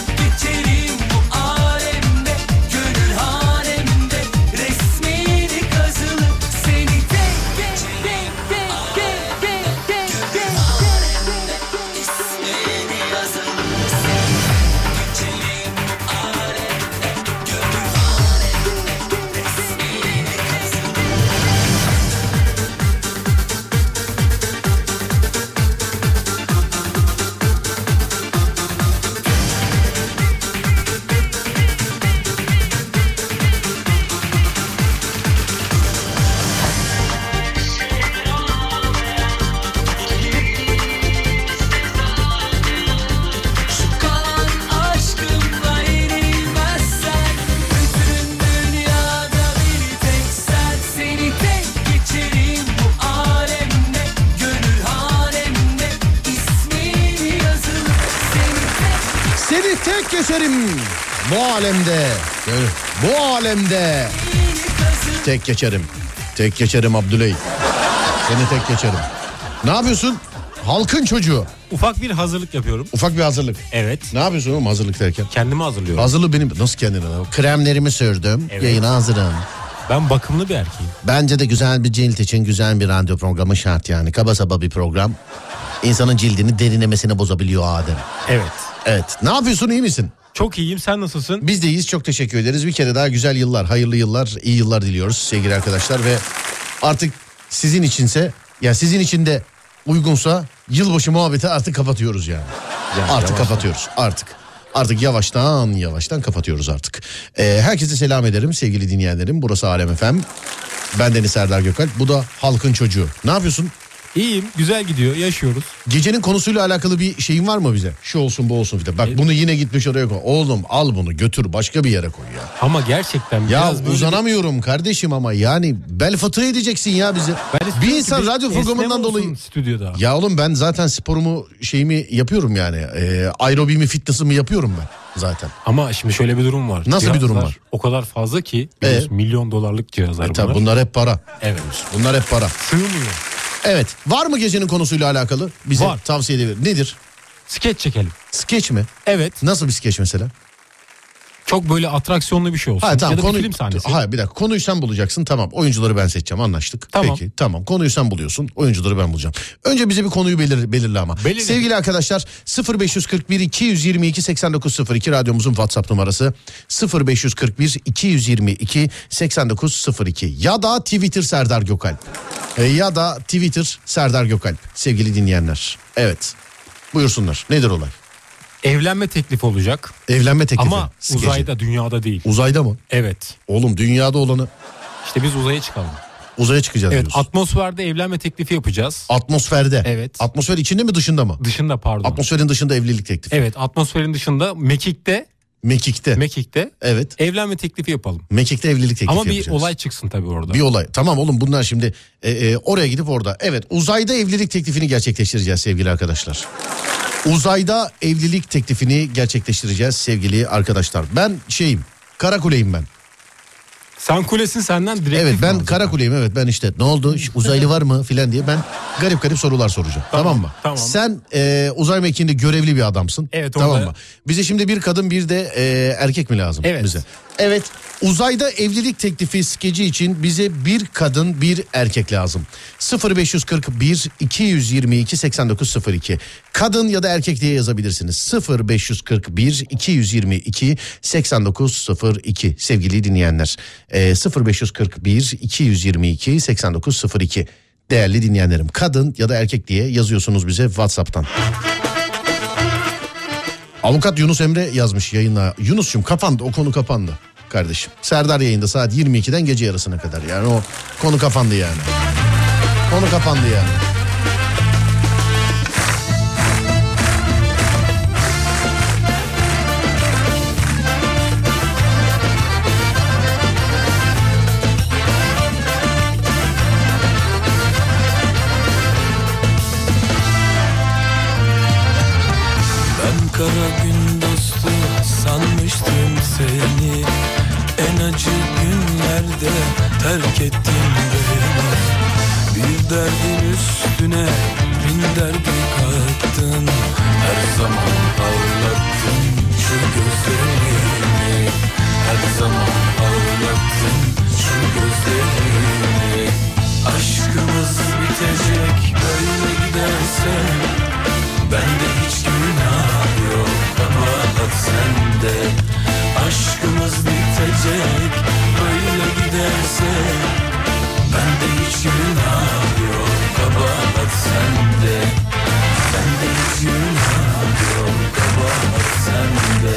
Oh! geçerim bu alemde. Yani Bu alemde. Tek geçerim. Tek geçerim Abdüley. Seni tek geçerim. Ne yapıyorsun? Halkın çocuğu. Ufak bir hazırlık yapıyorum. Ufak bir hazırlık. Evet. Ne yapıyorsun oğlum hazırlık derken? Kendimi hazırlıyorum. Hazırlığı benim. Nasıl kendine? lan? Kremlerimi sürdüm. Evet. Yayına hazırım. Ben bakımlı bir erkeğim. Bence de güzel bir cilt için güzel bir radyo programı şart yani. Kaba saba bir program. İnsanın cildini derinlemesine bozabiliyor Adem. Evet. Evet. Ne yapıyorsun iyi misin? Çok iyiyim sen nasılsın? Biz de iyiyiz. Çok teşekkür ederiz. Bir kere daha güzel yıllar, hayırlı yıllar, iyi yıllar diliyoruz sevgili arkadaşlar ve artık sizin içinse ya sizin için de uygunsa yılbaşı muhabbeti artık kapatıyoruz yani. Yani artık yavaştan. kapatıyoruz artık. Artık yavaştan yavaştan kapatıyoruz artık. Ee, herkese selam ederim sevgili dinleyenlerim. Burası Alem FM. Ben Deniz Serdar Gökalp. Bu da halkın çocuğu. Ne yapıyorsun? İyiyim. Güzel gidiyor. Yaşıyoruz. Gecenin konusuyla alakalı bir şeyin var mı bize? Şu olsun bu olsun filan. Bak bunu yine gitmiş oraya koy. Oğlum al bunu götür başka bir yere koy ya. Ama gerçekten Ya biraz böyle uzanamıyorum kardeşim ama yani bel fıtığı edeceksin ya bizi. Ben istiyorum bir ki insan radyo esneme programından olsun dolayı. stüdyoda. Ya oğlum ben zaten sporumu şeyimi yapıyorum yani. E, aerobimi fitnessimi yapıyorum ben zaten. Ama şimdi şöyle bir durum var. Nasıl bir durum Cihazlar var? O kadar fazla ki Ee? biliyorsun, milyon dolarlık cihazlar Tabii bunlar. bunlar hep para. Evet. Bunlar hep para. Sığmıyor. Evet var mı gecenin konusuyla alakalı? Bize Var. tavsiye edebilir. Nedir? Skeç çekelim. Skeç mi? Evet. Nasıl bir skeç mesela? Çok böyle atraksiyonlu bir şey olsun. Hayır tamam ya da konuyu- bir film sahnesi. Hayır bir dakika konuyu sen bulacaksın tamam oyuncuları ben seçeceğim anlaştık. Tamam. Peki tamam konuyu sen buluyorsun oyuncuları ben bulacağım. Önce bize bir konuyu belir, belirle ama. Belirle. Sevgili arkadaşlar 0541 222 8902 radyomuzun WhatsApp numarası 0541 222 8902 ya da Twitter Serdar Gökalp E, ya da Twitter Serdar Gökalp sevgili dinleyenler. Evet buyursunlar nedir olay? Evlenme teklifi olacak. Evlenme teklifi. Ama skeci. uzayda dünyada değil. Uzayda mı? Evet. Oğlum dünyada olanı İşte biz uzaya çıkalım. uzaya çıkacağız Evet diyorsun. atmosferde evlenme teklifi yapacağız. Atmosferde. Evet. Atmosfer içinde mi dışında mı? Dışında pardon. Atmosferin dışında evlilik teklifi. Evet atmosferin dışında mekikte Mekik'te. mekikte evet. evlenme teklifi yapalım. Mekik'te evlilik teklifi Ama bir yapacağız. olay çıksın tabii orada. Bir olay. Tamam oğlum bunlar şimdi e, e, oraya gidip orada. Evet uzayda evlilik teklifini gerçekleştireceğiz sevgili arkadaşlar. Uzayda evlilik teklifini gerçekleştireceğiz sevgili arkadaşlar. Ben şeyim Karakule'yim ben. Sen kulesin senden direkt. Evet ben Karakule'yim evet ben işte ne oldu Ş- uzaylı var mı filan diye ben garip garip sorular soracağım. Tamam, mı? tamam. Sen e, uzay mekiğinde görevli bir adamsın. Evet, Tamam orada- mı? Bize şimdi bir kadın bir de e, erkek mi lazım Evet. bize? Evet uzayda evlilik teklifi skeci için bize bir kadın bir erkek lazım. 0541 222 8902 kadın ya da erkek diye yazabilirsiniz. 0541 222 8902 sevgili dinleyenler. E, 0541 222 8902 değerli dinleyenlerim kadın ya da erkek diye yazıyorsunuz bize WhatsApp'tan. Avukat Yunus Emre yazmış yayına. Yunus'cum kapandı o konu kapandı kardeşim. Serdar yayında saat 22'den gece yarısına kadar. Yani o konu kapandı yani. Konu kapandı yani. Ben kara gün dostu sanmıştım seni En acı günlerde terk ettin beni Bir derdin üstüne bin derdi kattın Her zaman ağlattın şu gözlerini Her zaman ağlattın şu gözlerini Aşkımız bitecek böyle gidersen Bende hiç günah yok ama bak sende Aşkımız bitecek böyle giderse Bende hiç günah yok kabahat sende Bende hiç günah yok kabahat sende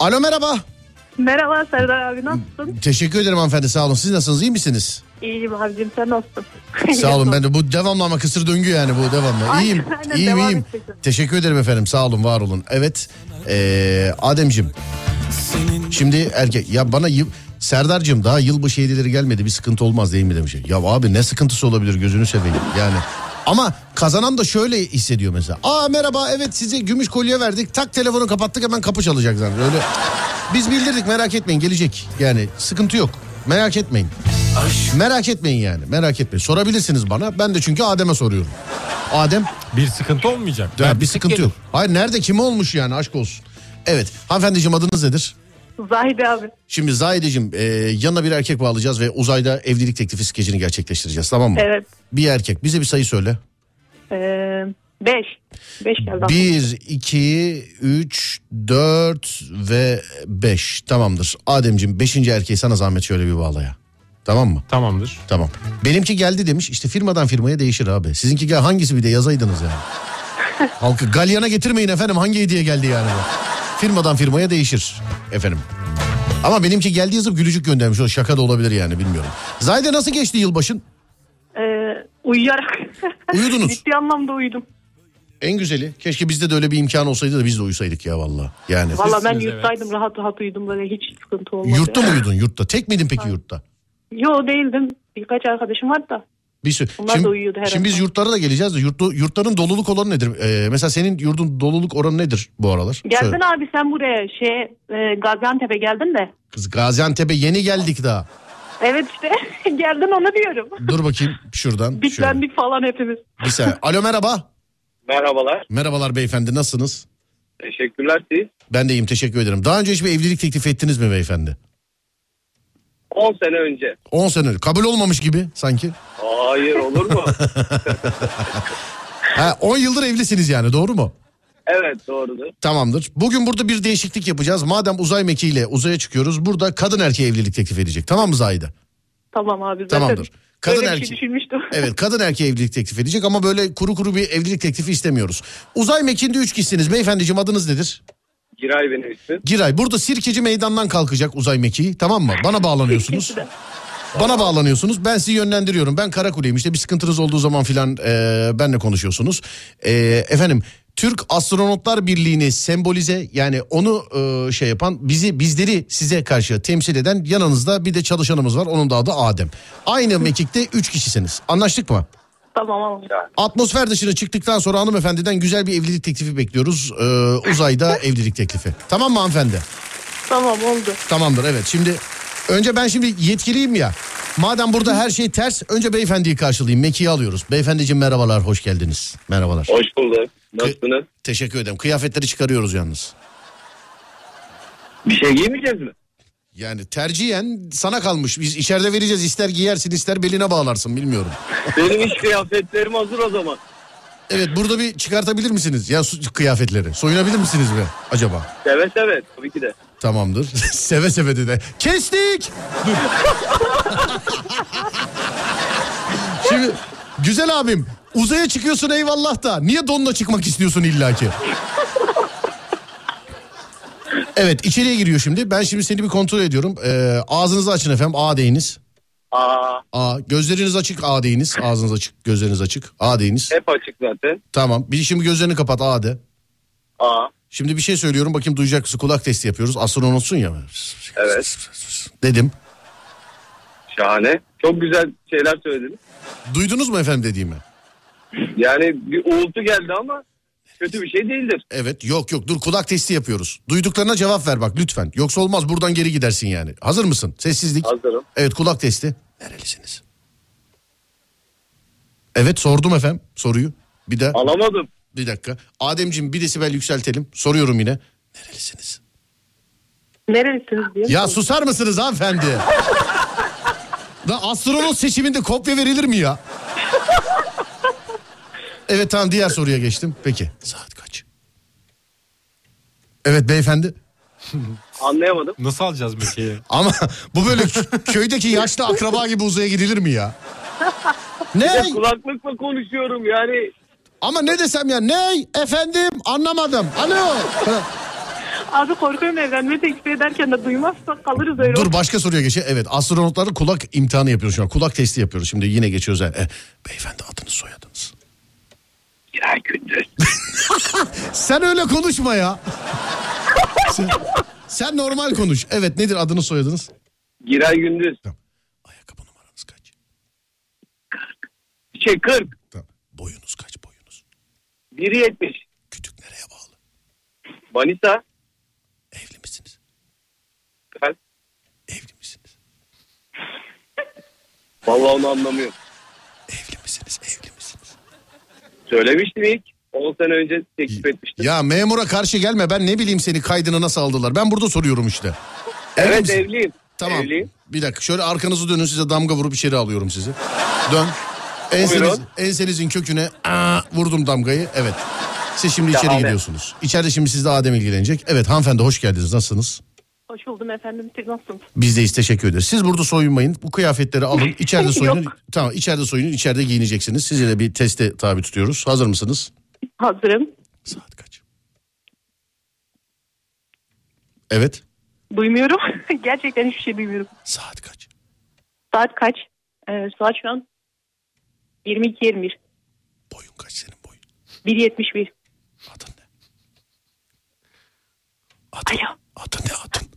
Alo merhaba. Merhaba Serdar abi nasılsın? Teşekkür ederim hanımefendi sağ olun. Siz nasılsınız iyi misiniz? İyiyim abicim sen nasılsın? Sağ olun ben de bu devamlı ama kısır döngü yani bu devamlı. Aynen, İyiyim aynen, iyiyim devam iyiyim. edeceksin. Teşekkür ederim efendim sağ olun var olun. Evet ee, Adem'cim Senin şimdi erkek ya bana yıl- Serdar'cığım daha yılbaşı hediyeleri gelmedi bir sıkıntı olmaz değil mi demiş. Ya abi ne sıkıntısı olabilir gözünü seveyim yani. Ama kazanan da şöyle hissediyor mesela. Aa merhaba evet size gümüş kolye verdik. Tak telefonu kapattık hemen kapı çalacak zaten. Öyle. Biz bildirdik merak etmeyin gelecek. Yani sıkıntı yok. Merak etmeyin. Merak etmeyin yani merak etmeyin. Sorabilirsiniz bana. Ben de çünkü Adem'e soruyorum. Adem Bir sıkıntı olmayacak. ya Yani bir sıkıntı yok. Hayır nerede kim olmuş yani aşk olsun. Evet hanımefendiciğim adınız nedir? Zahide abi. Şimdi Zahide'cim e, yanına bir erkek bağlayacağız ve uzayda evlilik teklifi skecini gerçekleştireceğiz tamam mı? Evet. Bir erkek bize bir sayı söyle. Ee, beş. Beş geldi. aklıma. 1, 2, 3, 4 ve 5 tamamdır. Adem'cim 5. erkeği sana zahmet şöyle bir bağlaya. Tamam mı? Tamamdır. Tamam. Benimki geldi demiş. İşte firmadan firmaya değişir abi. Sizinki gel hangisi bir de yazaydınız yani. Halkı galyana getirmeyin efendim. Hangi hediye geldi yani? bu? Firmadan firmaya değişir efendim. Ama benimki geldi yazıp gülücük göndermiş. O şaka da olabilir yani bilmiyorum. Zayde nasıl geçti yılbaşın? Ee, uyuyarak. Uyudunuz. Ciddi anlamda uyudum. En güzeli. Keşke bizde de öyle bir imkan olsaydı da biz de uyusaydık ya valla. Yani. Valla ben Siz- evet. yurttaydım rahat rahat uyudum böyle hiç sıkıntı olmadı. Yurtta mı uyudun yurtta? Tek miydin peki yurtta? Yo değildim. Birkaç arkadaşım var da. Bir sürü. Onlar da uyuyordu herhalde. Şimdi biz yurtlara da geleceğiz de yurtlu, yurtların doluluk oranı nedir? Ee, mesela senin yurdun doluluk oranı nedir bu aralar? Geldin Söyle. abi sen buraya şey e, Gaziantep'e geldin de. Kız Gaziantep'e yeni geldik daha. Evet işte geldin onu diyorum. Dur bakayım şuradan. şöyle. Bitlendik falan hepimiz. Bir saniye. Alo merhaba. Merhabalar. Merhabalar beyefendi nasılsınız? Teşekkürler siz. Ben de iyiyim teşekkür ederim. Daha önce hiç bir evlilik teklif ettiniz mi beyefendi? 10 sene önce. 10 sene kabul olmamış gibi sanki. Hayır olur mu? Ha, 10 yıldır evlisiniz yani doğru mu? evet doğrudur. Tamamdır. Bugün burada bir değişiklik yapacağız. Madem uzay mekiğiyle uzaya çıkıyoruz burada kadın erkeğe evlilik teklif edecek. Tamam mı Zahide? Tamam abi zaten. Tamamdır. Kadın Böyle bir erkek. şey düşünmüştüm. Evet kadın erkeğe evlilik teklif edecek ama böyle kuru kuru bir evlilik teklifi istemiyoruz. Uzay mekiğinde 3 kişisiniz. Beyefendiciğim adınız nedir? Giray benim ismim. Giray burada sirkeci meydandan kalkacak uzay mekiği tamam mı? Bana bağlanıyorsunuz. Bana bağlanıyorsunuz ben sizi yönlendiriyorum. Ben Karakuleyim işte bir sıkıntınız olduğu zaman filan e, benle konuşuyorsunuz. E, efendim Türk Astronotlar Birliği'ni sembolize yani onu e, şey yapan bizi bizleri size karşı temsil eden yanınızda bir de çalışanımız var. Onun da adı Adem. Aynı mekikte 3 kişisiniz anlaştık mı? Tamam ama. Atmosfer dışına çıktıktan sonra hanımefendiden güzel bir evlilik teklifi bekliyoruz. E, uzayda evlilik teklifi. Tamam mı hanımefendi? Tamam oldu. Tamamdır evet şimdi önce ben şimdi yetkiliyim ya. Madem burada her şey ters önce beyefendiyi karşılayayım. Meki'yi alıyoruz. Beyefendiciğim merhabalar hoş geldiniz. Merhabalar. Hoş bulduk. Nasılsınız? Teşekkür ederim. Kıyafetleri çıkarıyoruz yalnız. Bir şey giymeyeceğiz mi? Yani tercihen sana kalmış. Biz içeride vereceğiz. İster giyersin ister beline bağlarsın bilmiyorum. Benim iş kıyafetlerim hazır o zaman. Evet burada bir çıkartabilir misiniz? Ya su- kıyafetleri. Soyunabilir misiniz mi acaba? Seve seve tabii ki de. Tamamdır. seve seve de. Kestik. Dur. Şimdi güzel abim uzaya çıkıyorsun eyvallah da niye donla çıkmak istiyorsun illaki? Evet içeriye giriyor şimdi. Ben şimdi seni bir kontrol ediyorum. Ee, ağzınızı açın efendim. A deyiniz. Aa, A. Gözleriniz açık. A deyiniz. Ağzınız açık. Gözleriniz açık. A deyiniz. hep açık zaten. Tamam. Bir şimdi gözlerini kapat. A de. Aa, Şimdi bir şey söylüyorum. Bakayım duyacak mısın? Kulak testi yapıyoruz. Astronotsun ya. Evet. Dedim. şahane. Çok güzel şeyler söylediniz. Duydunuz mu efendim dediğimi? Yani bir uğultu geldi ama kötü bir şey değildir. Evet yok yok dur kulak testi yapıyoruz. Duyduklarına cevap ver bak lütfen. Yoksa olmaz buradan geri gidersin yani. Hazır mısın? Sessizlik. Hazırım. Evet kulak testi. Nerelisiniz? Evet sordum efendim soruyu. Bir de Alamadım. bir dakika. Ademciğim bir desibel yükseltelim. Soruyorum yine. Nerelisiniz? Nerelisiniz diye. Ya susar mısınız hanımefendi? Da astronot seçiminde kopya verilir mi ya? Evet tamam diğer soruya geçtim. Peki. Saat kaç? Evet beyefendi. Anlayamadım. Nasıl alacağız mekiği? Ama bu böyle kö- köydeki yaşlı akraba gibi uzaya gidilir mi ya? Ne? Kulaklıkla konuşuyorum yani. Ama ne desem ya? Ne? Efendim? Anlamadım. Alo. Abi korkuyorum evlenme teklifi ederken de duymazsak kalırız öyle. Dur başka soruya geçelim. Evet astronotların kulak imtihanı yapıyoruz şu an. Kulak testi yapıyoruz. Şimdi yine geçiyoruz. E, beyefendi adınız soyadınız. Giray Gündüz. Sen öyle konuşma ya. sen, sen normal konuş. Evet nedir adınız soyadınız? Giray Gündüz. Tamam. Ayakkabı numaranız kaç? Şey 40. Tamam. Boyunuz. Biri 70. Kütük nereye bağlı? Manisa. Evli misiniz? Ben, Evli misiniz? vallahi onu anlamıyorum. Evli misiniz? Evli misiniz? Söylemiştim ilk. 10 sene önce teklif etmiştim. Ya memura karşı gelme ben ne bileyim seni kaydını nasıl aldılar. Ben burada soruyorum işte. Evli evet misin? evliyim. Tamam. Evliyim. Bir dakika şöyle arkanızı dönün size damga vurup içeri alıyorum sizi. Dön. Enseniz, Buyurun. ensenizin köküne aa, vurdum damgayı. Evet. Siz şimdi içeri Şahane. gidiyorsunuz. İçeride şimdi sizle Adem ilgilenecek. Evet hanımefendi hoş geldiniz. Nasılsınız? Hoş buldum efendim. Siz nasılsınız? Biz de teşekkür ederiz. Siz burada soyunmayın. Bu kıyafetleri alın. İçeride soyunun. Yok. tamam içeride soyunun. içeride giyineceksiniz. Sizi de bir teste tabi tutuyoruz. Hazır mısınız? Hazırım. Saat kaç? Evet. Duymuyorum. Gerçekten hiçbir şey duymuyorum. Saat kaç? Saat kaç? Ee, saat şu an 22.21. Boyun kaç senin boyun? 1.71. Adın ne? Alo. Adın ne adın?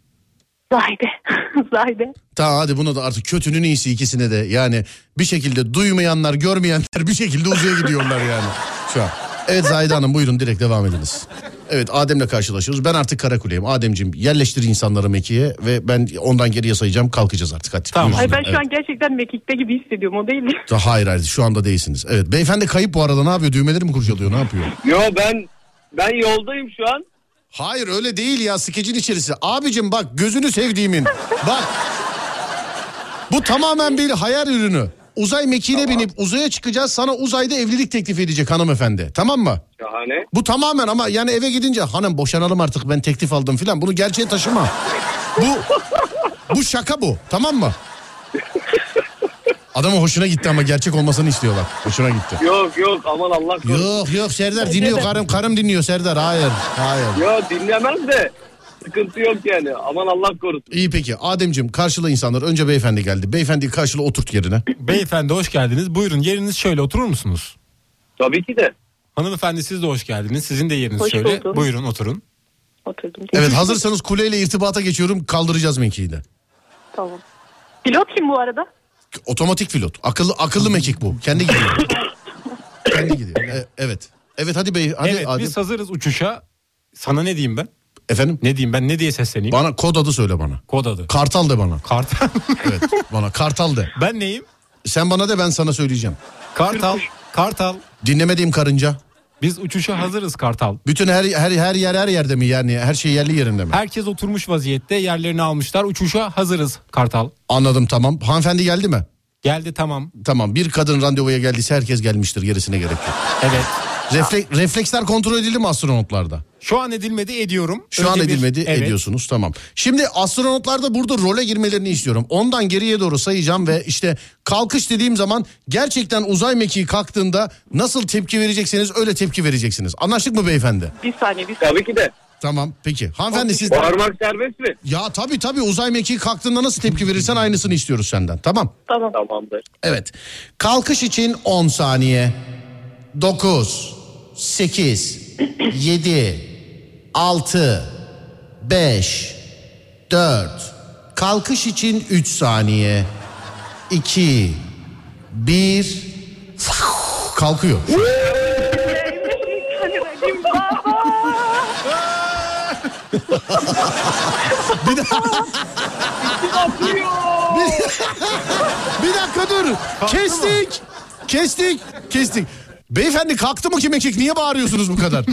Zahide. Zahide. Tamam hadi bunu da artık kötünün iyisi ikisine de. Yani bir şekilde duymayanlar, görmeyenler bir şekilde uzaya gidiyorlar yani şu an. Evet Zahide Hanım buyurun direkt devam ediniz. Evet Adem'le karşılaşıyoruz. Ben artık Karakule'yim. Ademciğim yerleştir insanları Mekke'ye ve ben ondan geriye sayacağım. Kalkacağız artık hadi. Tamam. Buyursunlar. Ay ben şu Evet. an gerçekten mekikte gibi hissediyorum. O değil. Ta- Hayır hayır şu anda değilsiniz. Evet beyefendi kayıp bu arada ne yapıyor? Düğmeleri mi kurcalıyor ne yapıyor? Yo ben ben yoldayım şu an. Hayır öyle değil ya skecin içerisi. Abicim bak gözünü sevdiğimin. bak. Bu tamamen bir hayal ürünü. Uzay mekiğine binip uzaya çıkacağız sana uzayda evlilik teklif edecek hanımefendi. Tamam mı? Şahane. Bu tamamen ama yani eve gidince hanım boşanalım artık ben teklif aldım filan bunu gerçeğe taşıma. bu bu şaka bu tamam mı? Adamın hoşuna gitti ama gerçek olmasını istiyorlar. Hoşuna gitti. Yok yok aman Allah korusun. Yo. Yok yok Serdar dinliyor karım karım dinliyor Serdar hayır hayır. dinlemez de sıkıntı yok yani. Aman Allah korusun. İyi peki. Ademciğim karşıla insanlar. Önce beyefendi geldi. Beyefendiyi karşıla oturt yerine. Beyefendi hoş geldiniz. Buyurun yeriniz şöyle oturur musunuz? Tabii ki de. Hanımefendi siz de hoş geldiniz. Sizin de yeriniz Hoş şöyle. buldum. Buyurun oturun. Oturdum. Evet hazırsanız kuleyle irtibata geçiyorum. Kaldıracağız Meki'yi de. Tamam. Pilot kim bu arada? Otomatik pilot. Akıllı akıllı mekik bu. Kendi gidiyor. Kendi gidiyor. E, evet. Evet hadi bey. Hadi evet Adem. biz hazırız uçuşa. Sana ne diyeyim ben? Efendim? Ne diyeyim ben? Ne diye sesleneyim? Bana kod adı söyle bana. Kod adı. Kartal de bana. Kartal. Evet bana kartal de. ben neyim? Sen bana de ben sana söyleyeceğim. Kartal. Kartal. Dinlemediğim karınca. Biz uçuşa hazırız Kartal. Bütün her her her yer her yerde mi yani her şey yerli yerinde mi? Herkes oturmuş vaziyette yerlerini almışlar. Uçuşa hazırız Kartal. Anladım tamam. Hanımefendi geldi mi? Geldi tamam. Tamam bir kadın randevuya geldiyse herkes gelmiştir gerisine gerek yok. Evet. Refle- refleksler kontrol edildi mi astronotlarda? Şu an edilmedi ediyorum. Şu an Önce bir- edilmedi Evet. ediyorsunuz tamam. Şimdi astronotlarda burada role girmelerini istiyorum. Ondan geriye doğru sayacağım ve işte kalkış dediğim zaman gerçekten uzay mekiği kalktığında nasıl tepki verecekseniz öyle tepki vereceksiniz. Anlaştık mı beyefendi? Bir saniye bir saniye. Tabii ki de. Tamam peki. Hanımefendi siz... Bağırmak serbest mi? Ya tabii tabii uzay mekiği kalktığında nasıl tepki verirsen aynısını istiyoruz senden tamam. Tamam. Tamamdır. Evet. Kalkış için 10 saniye. 9 8 7 6 5 4 Kalkış için 3 saniye. 2 1 Kalkıyor. Bir dakika dur. Kestik. Kestik. Kestik. Beyefendi kalktı mı ki mekik? Niye bağırıyorsunuz bu kadar?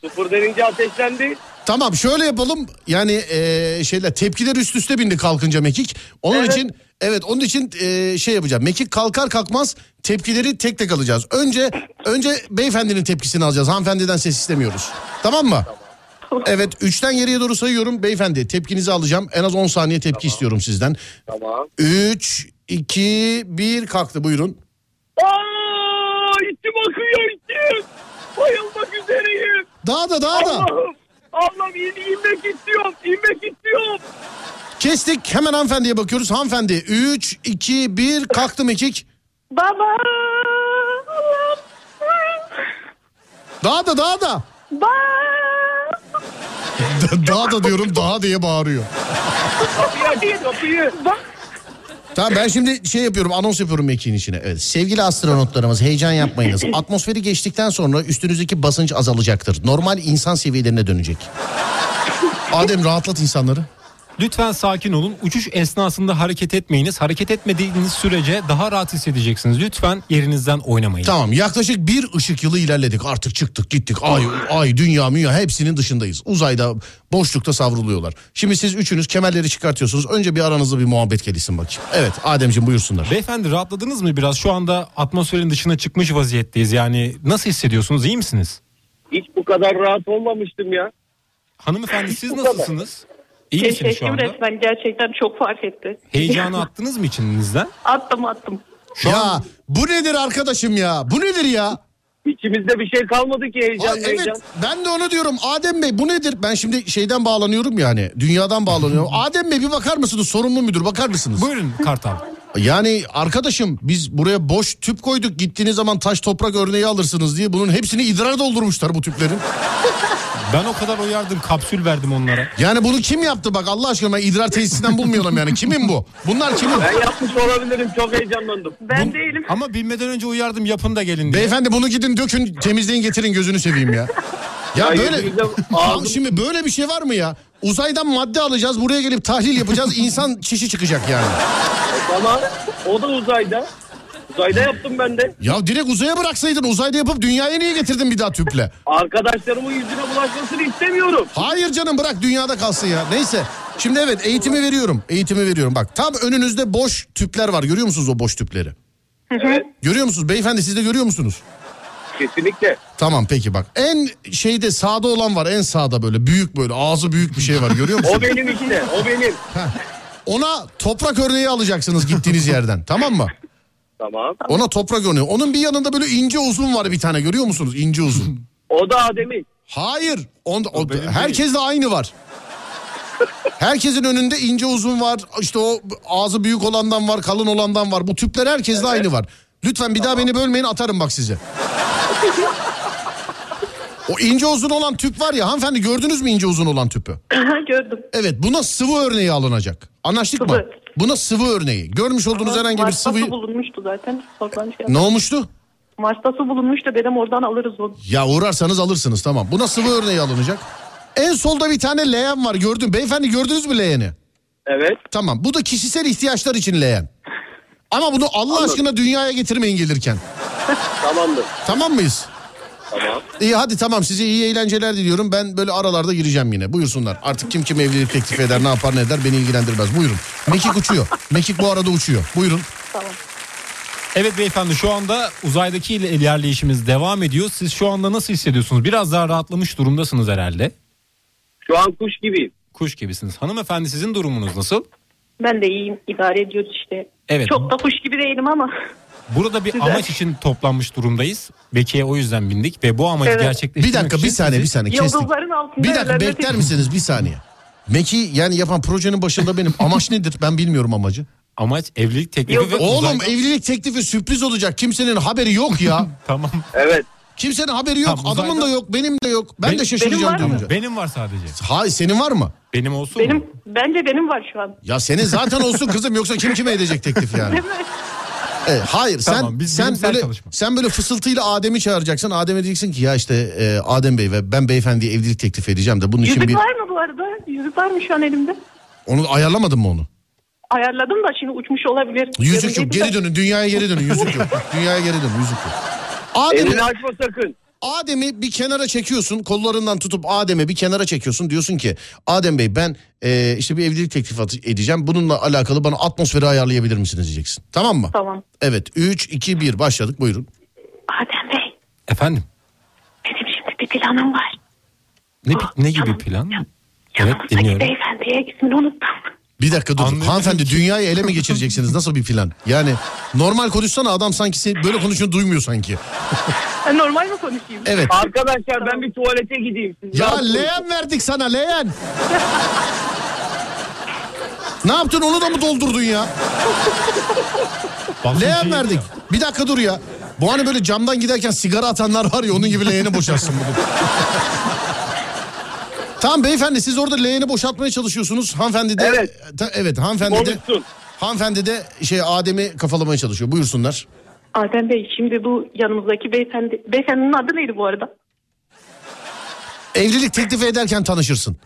Sıfır denince ateşlendi. Tamam şöyle yapalım. Yani eee, şeyler tepkiler üst üste bindi kalkınca mekik. Onun için evet onun için eee, şey yapacağım. Mekik kalkar kalkmaz tepkileri tek tek alacağız. Önce önce beyefendinin tepkisini alacağız. Hanımefendiden ses istemiyoruz. Tamam mı? Evet 3'ten geriye doğru sayıyorum. Beyefendi tepkinizi alacağım. En az 10 saniye tepki istiyorum sizden. Tamam. 3 2 1 kalktı buyurun. Aa, içim akıyor içim. Bayılmak üzereyim. Daha da daha da. Allah'ım. Allah'ım in, inmek istiyorum. inmek istiyorum. Kestik. Hemen hanımefendiye bakıyoruz. Hanımefendi 3 2 1 kalktı mekik. Baba. Allah'ım. Daha da daha da. Baba. daha da diyorum daha diye bağırıyor. Kapıyı aç kapıyı. Bak. Tamam ben şimdi şey yapıyorum anons yapıyorum mekiğin içine. Evet, sevgili astronotlarımız heyecan yapmayınız. Atmosferi geçtikten sonra üstünüzdeki basınç azalacaktır. Normal insan seviyelerine dönecek. Adem rahatlat insanları. Lütfen sakin olun. Uçuş esnasında hareket etmeyiniz. Hareket etmediğiniz sürece daha rahat hissedeceksiniz. Lütfen yerinizden oynamayın. Tamam yaklaşık bir ışık yılı ilerledik. Artık çıktık gittik. Ay, ay dünya münya hepsinin dışındayız. Uzayda boşlukta savruluyorlar. Şimdi siz üçünüz kemerleri çıkartıyorsunuz. Önce bir aranızda bir muhabbet gelişsin bakayım. Evet Ademciğim buyursunlar. Beyefendi rahatladınız mı biraz? Şu anda atmosferin dışına çıkmış vaziyetteyiz. Yani nasıl hissediyorsunuz? İyi misiniz? Hiç bu kadar rahat olmamıştım ya. Hanımefendi siz nasılsınız? İyi misiniz şu Keşfettim anda? resmen gerçekten çok fark etti. Heyecanı attınız mı içinizden? Attım attım. ya bu nedir arkadaşım ya? Bu nedir ya? İçimizde bir şey kalmadı ki heyecan Aa, evet heyecan. ben de onu diyorum Adem Bey bu nedir? Ben şimdi şeyden bağlanıyorum yani dünyadan bağlanıyorum. Adem Bey bir bakar mısınız sorumlu müdür bakar mısınız? Buyurun Kartal. Yani arkadaşım biz buraya boş tüp koyduk gittiğiniz zaman taş toprak örneği alırsınız diye bunun hepsini idrar doldurmuşlar bu tüplerin. Ben o kadar uyardım kapsül verdim onlara. Yani bunu kim yaptı bak Allah aşkına ben idrar tesisinden bulmuyorum yani kimin bu? Bunlar kimin? Ben yapmış olabilirim çok heyecanlandım. Ben değilim. Ama bilmeden önce uyardım yapın da gelin diye. Beyefendi bunu gidin dökün temizleyin getirin gözünü seveyim ya. Ya Ay, böyle yüzünüzden Abi ağzım- şimdi böyle bir şey var mı ya? Uzaydan madde alacağız buraya gelip tahlil yapacağız insan çişi çıkacak yani. Ama o da uzayda. Uzayda yaptım ben de. Ya direkt uzaya bıraksaydın uzayda yapıp dünyaya niye getirdin bir daha tüple? Arkadaşlarımın yüzüne bulaşmasını istemiyorum. Hayır canım bırak dünyada kalsın ya. Neyse. Şimdi evet eğitimi veriyorum. Eğitimi veriyorum. Bak tam önünüzde boş tüpler var. Görüyor musunuz o boş tüpleri? Görüyor musunuz? Beyefendi siz de görüyor musunuz? Kesinlikle. Tamam peki bak. En şeyde sağda olan var. En sağda böyle büyük böyle ağzı büyük bir şey var. Görüyor musunuz? O benim işte. O benim. Ona toprak örneği alacaksınız gittiğiniz yerden. Tamam mı? Tamam. Ona toprak örneği. Onun bir yanında böyle ince uzun var bir tane. Görüyor musunuz? İnce uzun. O da Adem'in. Hayır. Onda, o, benim herkes de aynı var. Herkesin önünde ince uzun var. İşte o ağzı büyük olandan var, kalın olandan var. Bu tüpler herkeste aynı var. Lütfen bir daha beni bölmeyin atarım bak size. o ince uzun olan tüp var ya hanımefendi gördünüz mü ince uzun olan tüpü? Gördüm. Evet buna sıvı örneği alınacak. Anlaştık mı? Sıvı. Buna sıvı örneği. Görmüş olduğunuz herhangi bir Mars'ta sıvıyı... su bulunmuştu zaten. Oradan şey Ne olmuştu? Mars'ta su bulunmuştu dedim oradan alırız onu. Ya uğrarsanız alırsınız tamam. Buna sıvı örneği alınacak. En solda bir tane leğen var gördüm. Beyefendi gördünüz mü leğeni? Evet. Tamam bu da kişisel ihtiyaçlar için leğen. Ama bunu Allah aşkına dünyaya getirmeyin gelirken. Tamamdır. Tamam mıyız? Tamam. İyi hadi tamam size iyi eğlenceler diliyorum. Ben böyle aralarda gireceğim yine. Buyursunlar. Artık kim kim evlilik teklif eder ne yapar ne eder beni ilgilendirmez. Buyurun. Mekik uçuyor. Mekik bu arada uçuyor. Buyurun. Evet beyefendi şu anda uzaydaki ile- ilerleyişimiz devam ediyor. Siz şu anda nasıl hissediyorsunuz? Biraz daha rahatlamış durumdasınız herhalde. Şu an kuş gibiyim. Kuş gibisiniz. Hanımefendi sizin durumunuz nasıl? Ben de iyiyim idare ediyoruz işte. Evet. Çok da kuş gibi değilim ama. Burada bir amaç için toplanmış durumdayız. Bekiye o yüzden bindik ve bu amacı Evet. gerçekleştirmek Bir dakika için bir saniye bir sizi- saniye kestik. Yıldızların altında. Bir dakika evlenme bekler teklifi- misiniz bir saniye? Meki yani yapan projenin başında benim amaç nedir ben bilmiyorum amacı. Amaç evlilik teklifi ve Oğlum e- uzaydan- evlilik teklifi sürpriz olacak kimsenin haberi yok ya. Tamam. Evet. Kimsenin haberi yok Tamam, adamın da uzaydan- yok benim de yok. Ben Benim- de şaşıracağım benim var mı? duyunca. Benim var sadece. Hayır senin var mı? Benim olsun mu? Benim, bence benim var şu an. Ya senin zaten olsun kızım yoksa kim kime edecek teklif yani. Evet, hayır sen Tamam, biz sen bilimsel böyle çalışma. sen böyle fısıltıyla Adem'i çağıracaksın. Adem'e diyeceksin ki ya işte e, Adem Bey ve ben beyefendiye evlilik teklif edeceğim de bunun için Yüzük bir var mı bu arada? Yüzük var mı şu an elimde? onu ayarlamadın mı onu? Ayarladım da şimdi uçmuş olabilir. Yüzük yok Yarın geri yedim de- dönün dünyaya geri dönün yüzük yok. Dünyaya geri dönün yüzük yok. Adem'i, Elini açma sakın. Adem'i bir kenara çekiyorsun kollarından tutup Adem'i bir kenara çekiyorsun diyorsun ki Adem Bey ben e, işte bir evlilik teklifi at- edeceğim bununla alakalı bana atmosferi ayarlayabilir misiniz diyeceksin tamam mı? Tamam. Evet 3 2 1 başladık buyurun. Adem Bey Efendim. benim şimdi bir planım var. Oh, Ne, ne gibi tamam. plan? Yan- Evet Yanımızdaki dinliyorum. beyefendiye ismini unuttum. Bir dakika dur. Anlıyorum Hanımefendi dünyayı ele mi geçireceksiniz? Nasıl bir plan? Yani normal konuşsana adam sanki seni böyle konuşunu duymuyor sanki. Ben normal mi konuşayım? Evet. Arkadaşlar ben bir tuvalete gideyim. Siz Ya rahatsız- leğen verdik sana leğen. ne yaptın onu da mı doldurdun ya? Bakın Leğen şey- verdik. Bir dakika dur ya. Bu hani böyle camdan giderken sigara atanlar var ya onun gibi leğeni boşalsın bunu. tamam beyefendi siz orada leğeni boşaltmaya çalışıyorsunuz. Hanımefendi de... Evet. Ta- evet hanımefendi de... Konuşsun. Hanımefendi de şey Adem'i kafalamaya çalışıyor. Buyursunlar. Adem Bey şimdi bu yanımızdaki beyefendi, beyefendinin adı neydi bu arada? Evlilik teklifi ederken tanışırsın.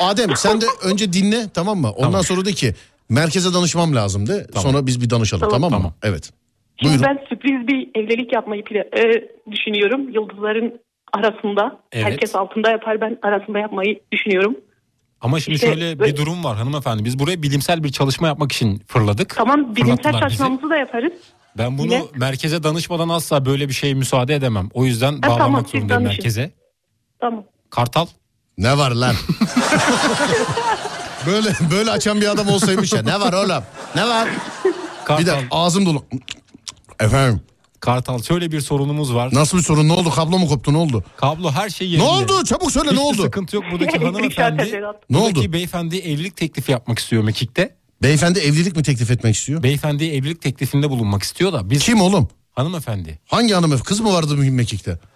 Adem sen de önce dinle tamam mı? Ondan Tamam. sonra de ki merkeze danışmam lazım de. Tamam. Sonra biz bir danışalım tamam, Tamam. mı? Tamam. Evet. Şimdi Buyurun. ben sürpriz bir evlilik yapmayı pla- e, düşünüyorum. Yıldızların arasında. Evet. Herkes altında yapar ben arasında yapmayı düşünüyorum. Ama şimdi İşte şöyle bir böyle- durum var hanımefendi. Biz buraya bilimsel bir çalışma yapmak için fırladık. Tamam bilimsel Fırlattılar bizi. çalışmamızı da yaparız. Ben bunu Yine- merkeze danışmadan asla böyle bir şeye müsaade edemem. O yüzden bağlanmak tamam, siz zorundayım danışın. merkeze. Tamam. Kartal. Ne var lan? böyle böyle açan bir adam olsaymış ya. Ne var oğlum? Ne var? Kartal. Bir de ağzım dolu. Efendim Kartal şöyle bir sorunumuz var. nasıl bir sorun ne oldu kablo mu koptu ne oldu? Kablo her şey Ne yerinde. oldu çabuk söyle Hiçbir ne oldu? sıkıntı yok. Buradaki Elektrik hanımefendi, şartları. Ne buradaki oldu? beyefendi evlilik teklifi yapmak istiyor Mekik'te. Beyefendi evlilik mi teklif etmek istiyor? Beyefendi evlilik teklifinde bulunmak istiyor da biz Kim oğlum? hanımefendi. Hangi hanım? Kız mı vardı bugün Mekik'te?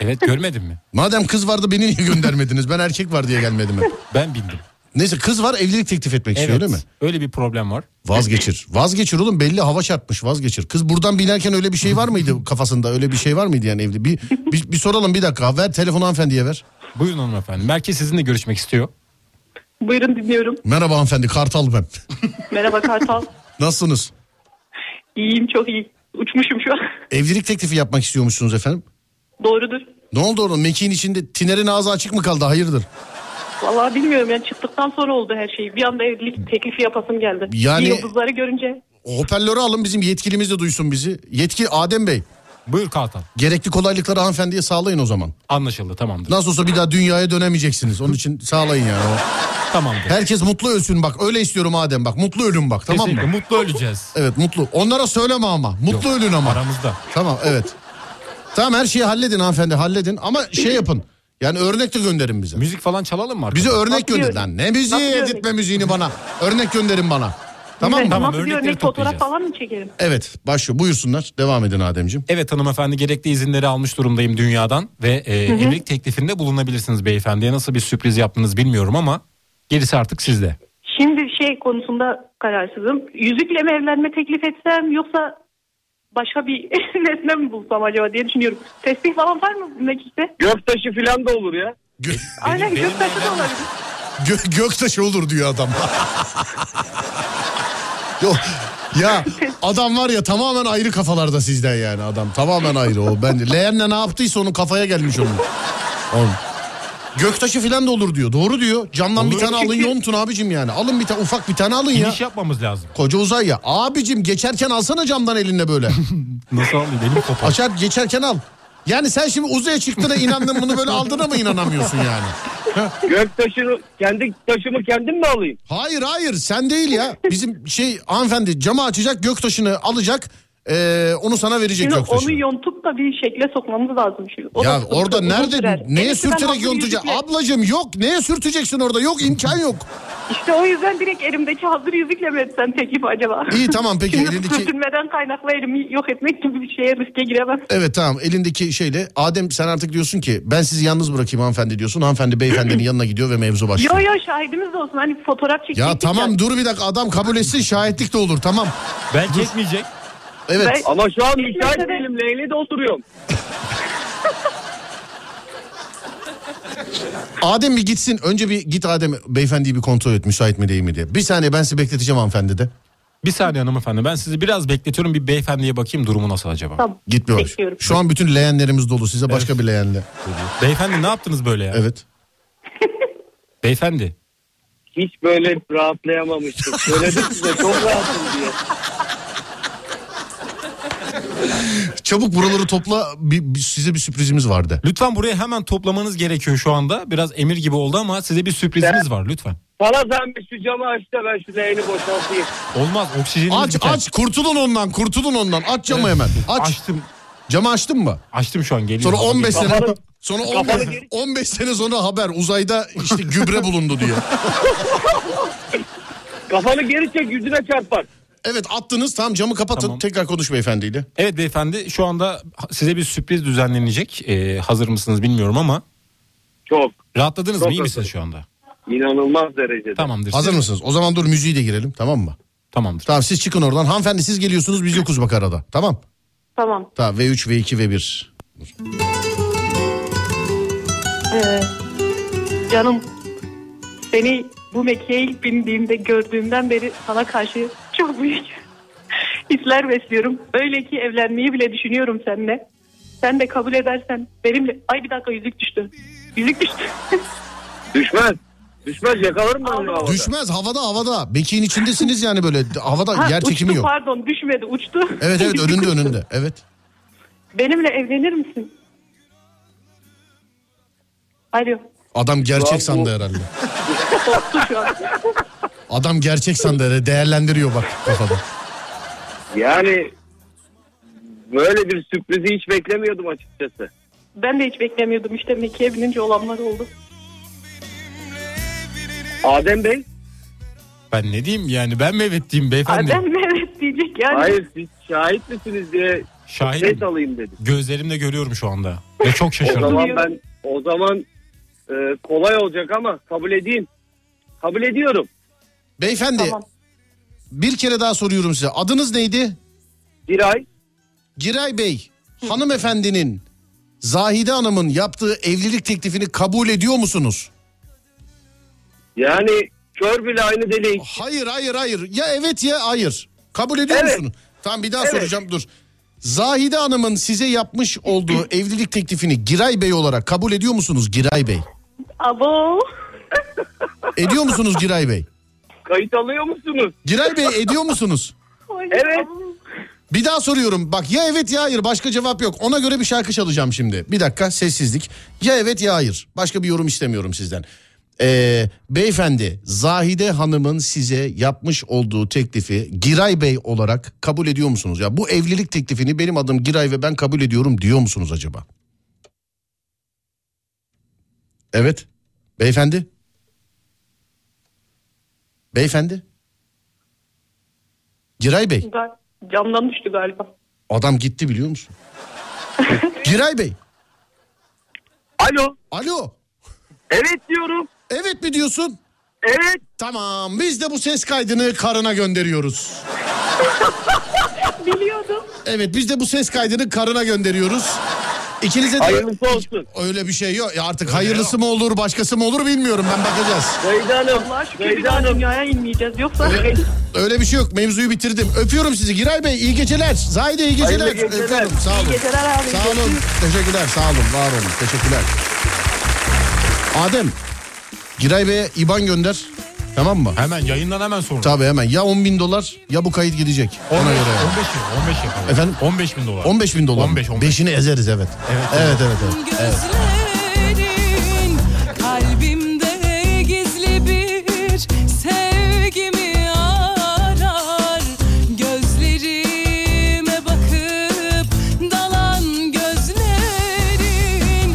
Evet görmedin mi? Madem kız vardı beni niye göndermediniz? Ben erkek var diye gelmedim hep. Ben bindim. Neyse kız var evlilik teklif etmek Evet. istiyor değil mi? Öyle bir problem var. Vazgeçir. Vazgeçir oğlum belli hava çarpmış vazgeçir. Kız buradan binerken öyle bir şey var mıydı kafasında? Öyle bir şey var mıydı yani evli? Bir, bir, bir soralım bir dakika. Ver telefonu hanımefendiye ver. Buyurun hanımefendi. Merkez sizinle görüşmek istiyor. Buyurun dinliyorum. Merhaba hanımefendi Kartal ben. Merhaba Kartal. Nasılsınız? İyiyim çok iyi. Uçmuşum şu an. Evlilik teklifi yapmak istiyormuşsunuz efendim. Doğrudur. Ne oldu oğlum? Mekiğin içinde tinerin ağzı açık mı kaldı? Hayırdır? Vallahi bilmiyorum yani çıktıktan sonra oldu her şey. Bir anda evlilik teklifi yapasım geldi. Yani- Yıldızları görünce. Hoparlörü alın bizim yetkilimiz de duysun bizi. Yetki Adem Bey. Buyur Kartal. Gerekli kolaylıkları hanımefendiye sağlayın o zaman. Anlaşıldı tamamdır. Nasıl olsa bir daha dünyaya dönemeyeceksiniz. Onun için sağlayın yani. o. Tamamdır. Herkes mutlu ölsün bak. Öyle istiyorum Adem bak. Mutlu ölün bak tamam Kesinlikle mı? mutlu öleceğiz. Evet mutlu. Onlara söyleme ama. Mutlu ölün ama. Aramızda. Tamam evet. Tamam her şeyi halledin hanımefendi halledin. Ama şey yapın. Yani örnek de gönderin bize. Müzik falan çalalım mı? Bize arkadan? örnek Nasıl bir gönderin örnek? lan. Ne müziği Nasıl bir editme müziğini bana. Örnek gönderin bana. Tamam mı? Ben Tamam, nasıl bir örnekleri örnek fotoğraf toplayacağız. falan mı çekerim? Evet başlıyor buyursunlar. Devam edin Ademciğim. Evet hanımefendi gerekli izinleri almış durumdayım dünyadan ve e, evlilik teklifinde bulunabilirsiniz beyefendiye. Nasıl bir sürpriz yaptınız bilmiyorum ama gerisi artık sizde. Şimdi şey konusunda kararsızım. Yüzükle mi evlenme teklif etsem yoksa başka bir nesne mi bulsam acaba diye düşünüyorum. Tesbih falan var mı mekikte? Göktaşı falan da olur ya. Gö- Aynen benim göktaşı da evlenme- olabilir. gö- göktaşı olur diyor adam. Yok. Ya adam var ya tamamen ayrı kafalarda sizden yani adam. Tamamen ayrı o. Ben leğenle ne yaptıysa onun kafaya gelmiş onun. Oğlum. Göktaşı falan da olur diyor. Doğru diyor. Camdan bir Olur. tane alın yontun abicim yani. Alın bir tane ufak bir tane alın ya. İniş yapmamız lazım. Koca uzay ya. Abicim geçerken alsana camdan elinle böyle. Nasıl alayım elim kopar. Açar geçerken al. Yani sen şimdi uzaya çıktığına inandın bunu böyle aldığına mı inanamıyorsun yani? Göktaşını kendi taşımı kendim mi alayım? Hayır hayır sen değil ya. Bizim şey hanımefendi camı açacak göktaşını alacak eee, onu sana verecek Şimdi göktaşını. onu yontup da bir şekle sokmamız lazım şimdi. O da ya sıkıntı, orada uzun nerede sürer. neye Evet, ben sürterek hazır yontacak? yüzükle- Ablacığım yok neye sürteceksin orada yok imkan yok. İşte o yüzden direkt elimdeki hazır yüzükle mi etsem teklif acaba? İyi tamam peki Şimdi elindeki sürtünmeden kaynaklı elimi yok etmek gibi bir şeye riske giremem. evet tamam elindeki şeyle Adem sen artık diyorsun ki ben sizi yalnız bırakayım hanımefendi diyorsun. Hanımefendi beyefendinin yanına gidiyor ve mevzu başlıyor. Yo yo şahidimiz de olsun hani fotoğraf çekecektik. Ya tamam dur bir dakika adam kabul etsin şahitlik de olur tamam. Belki etmeyecek. Evet. Ben- Ama şu an Hiç müsait mesele- değilim. Leyli de oturuyorum. Adem bir gitsin. Önce bir git Adem beyefendiyi bir kontrol et müsait mi değil mi diye. Bir saniye ben sizi bekleteceğim hanımefendi de. Bir saniye hanımefendi ben sizi biraz bekletiyorum bir beyefendiye bakayım durumu nasıl acaba. Tamam. Gitmiyor. Bekliyorum. Şu an bütün leğenlerimiz dolu size başka bir leğenle. Beyefendi ne yaptınız böyle ya? Evet. Beyefendi. Hiç böyle rahatlayamamıştım. Söyledim size çok rahatım diye. Çabuk buraları topla bir, bir- size bir sürprizimiz vardı. Lütfen buraya hemen toplamanız gerekiyor şu anda. Biraz emir gibi oldu ama size bir sürprizimiz var lütfen. Sana zahmet şu camı aç da ben şu leğeni boşaltayım. Olmaz oksijeniniz Aç biter. aç kurtulun ondan kurtulun ondan aç camı hemen aç. Açtım. Camı açtın mı? Açtım şu an geliyor. Sonra 15 sene Kafanı- sonra kafanı 15, geri- 15 sene sonra haber uzayda işte gübre bulundu diyor. Kafanı geri çek yüzüne çarpar. Evet attınız tamam camı kapatın Tamam. tekrar konuş beyefendiyle. Evet beyefendi şu anda size bir sürpriz düzenlenecek. Ee, hazır mısınız bilmiyorum ama Çok. rahatladınız Çok mı? İyi misiniz hazırım. şu anda? İnanılmaz derecede. Tamamdır. Hazır Siz- mısınız? O zaman dur müziği de girelim tamam mı? Tamamdır. Tamam siz çıkın oradan. Hanımefendi siz geliyorsunuz biz yokuz bak arada. Tamam. Tamam. Tamam V3, V2, V1. Ee, canım seni bu mekiğe ilk bindiğimde gördüğümden beri sana karşı çok büyük hisler besliyorum. Öyle ki evlenmeyi bile düşünüyorum seninle. Sen de kabul edersen benimle... Ay bir dakika yüzük düştü. Yüzük düştü. Düşmez. Düşmez yakalarım ben onu havada. Düşmez havada havada. Bekiğin içindesiniz yani böyle havada Ha, yer çekimi uçtu, yok. Pardon düşmedi uçtu. Evet evet önünde önünde. Evet. Benimle evlenir misin? Alo. Adam Ulan gerçek bu- sandı herhalde. Koptu şu an. Adam gerçek sandı herhalde. Değerlendiriyor bak kafada. Yani böyle bir sürprizi hiç beklemiyordum açıkçası. Ben de hiç beklemiyordum işte mekiğe binince olanlar oldu. Adem Bey. Ben ne diyeyim yani ben mi evet diyeyim beyefendi? Ay, ben mi evet diyecek yani. Hayır siz şahit misiniz diye Şahidim. ses alayım dedim. Gözlerimle görüyorum şu anda. Ve çok O şaşırdım. zaman ben o zaman e, kolay olacak ama kabul edeyim. Kabul ediyorum. Beyefendi Tamam. bir kere daha soruyorum size. Adınız neydi? Bir ay Giray Bey hanımefendinin Zahide Hanım'ın yaptığı evlilik teklifini kabul ediyor musunuz? yani kör bile aynı deli. Hayır hayır hayır. Ya evet ya hayır. Kabul ediyor Evet. musunuz? Tamam bir daha Evet. soracağım dur. Zahide Hanım'ın size yapmış olduğu evlilik teklifini Giray Bey olarak kabul ediyor musunuz Giray Bey? Abo. Ediyor musunuz Giray Bey? Kayıt alıyor musunuz? Giray Bey ediyor musunuz? Ay, Evet. abo. Bir daha soruyorum. Bak ya evet ya hayır başka cevap yok. Ona göre bir şarkı çalacağım şimdi. Bir dakika sessizlik. Ya evet ya hayır. Başka bir yorum istemiyorum sizden. Ee, beyefendi Zahide Hanım'ın size yapmış olduğu teklifi Giray Bey olarak kabul ediyor musunuz? Ya bu evlilik teklifini benim adım Giray ve ben kabul ediyorum diyor musunuz acaba? Evet. Beyefendi. Beyefendi. Giray Bey. Gal- Camdan düştü galiba. Adam gitti biliyor musun? Giray Bey. Alo. Alo. Evet diyorum. Evet mi diyorsun? Evet. Tamam biz de bu ses kaydını karına gönderiyoruz. Biliyordum. Evet biz de bu ses kaydını karına gönderiyoruz. İkinize de... Hayırlısı olsun. Öyle bir şey yok. Ya artık hayırlısı mı olur başkası mı olur bilmiyorum ben bakacağız. Zeyda Hanım. Allah'a şükür bir Zeyda daha Hanım. dünyaya inmeyeceğiz. Yoksa Öyle bir şey yok mevzuyu bitirdim. Öpüyorum sizi Giray Bey iyi geceler. Zahide iyi geceler. Hayırlı geceler. Öpüyorum sağ olun. geceler abi. Sağ olun. Teşekkürler. Sağ olun. Var olun. Teşekkürler. Adem. Giray Bey'e IBAN gönder. Tamam mı? Hemen yayından hemen sonra. Tabii hemen. Ya 10 bin dolar ya bu kayıt gidecek. Ona 15, göre. 15, yani. 15 yapalım. Efendim? 15 bin dolar. 15 bin dolar. 15, 15. Beşini ezeriz evet. Evet, Evet evet. evet. Gözlerin kalbimde gizli bir sevgimi arar Gözlerime bakıp dalan gözlerin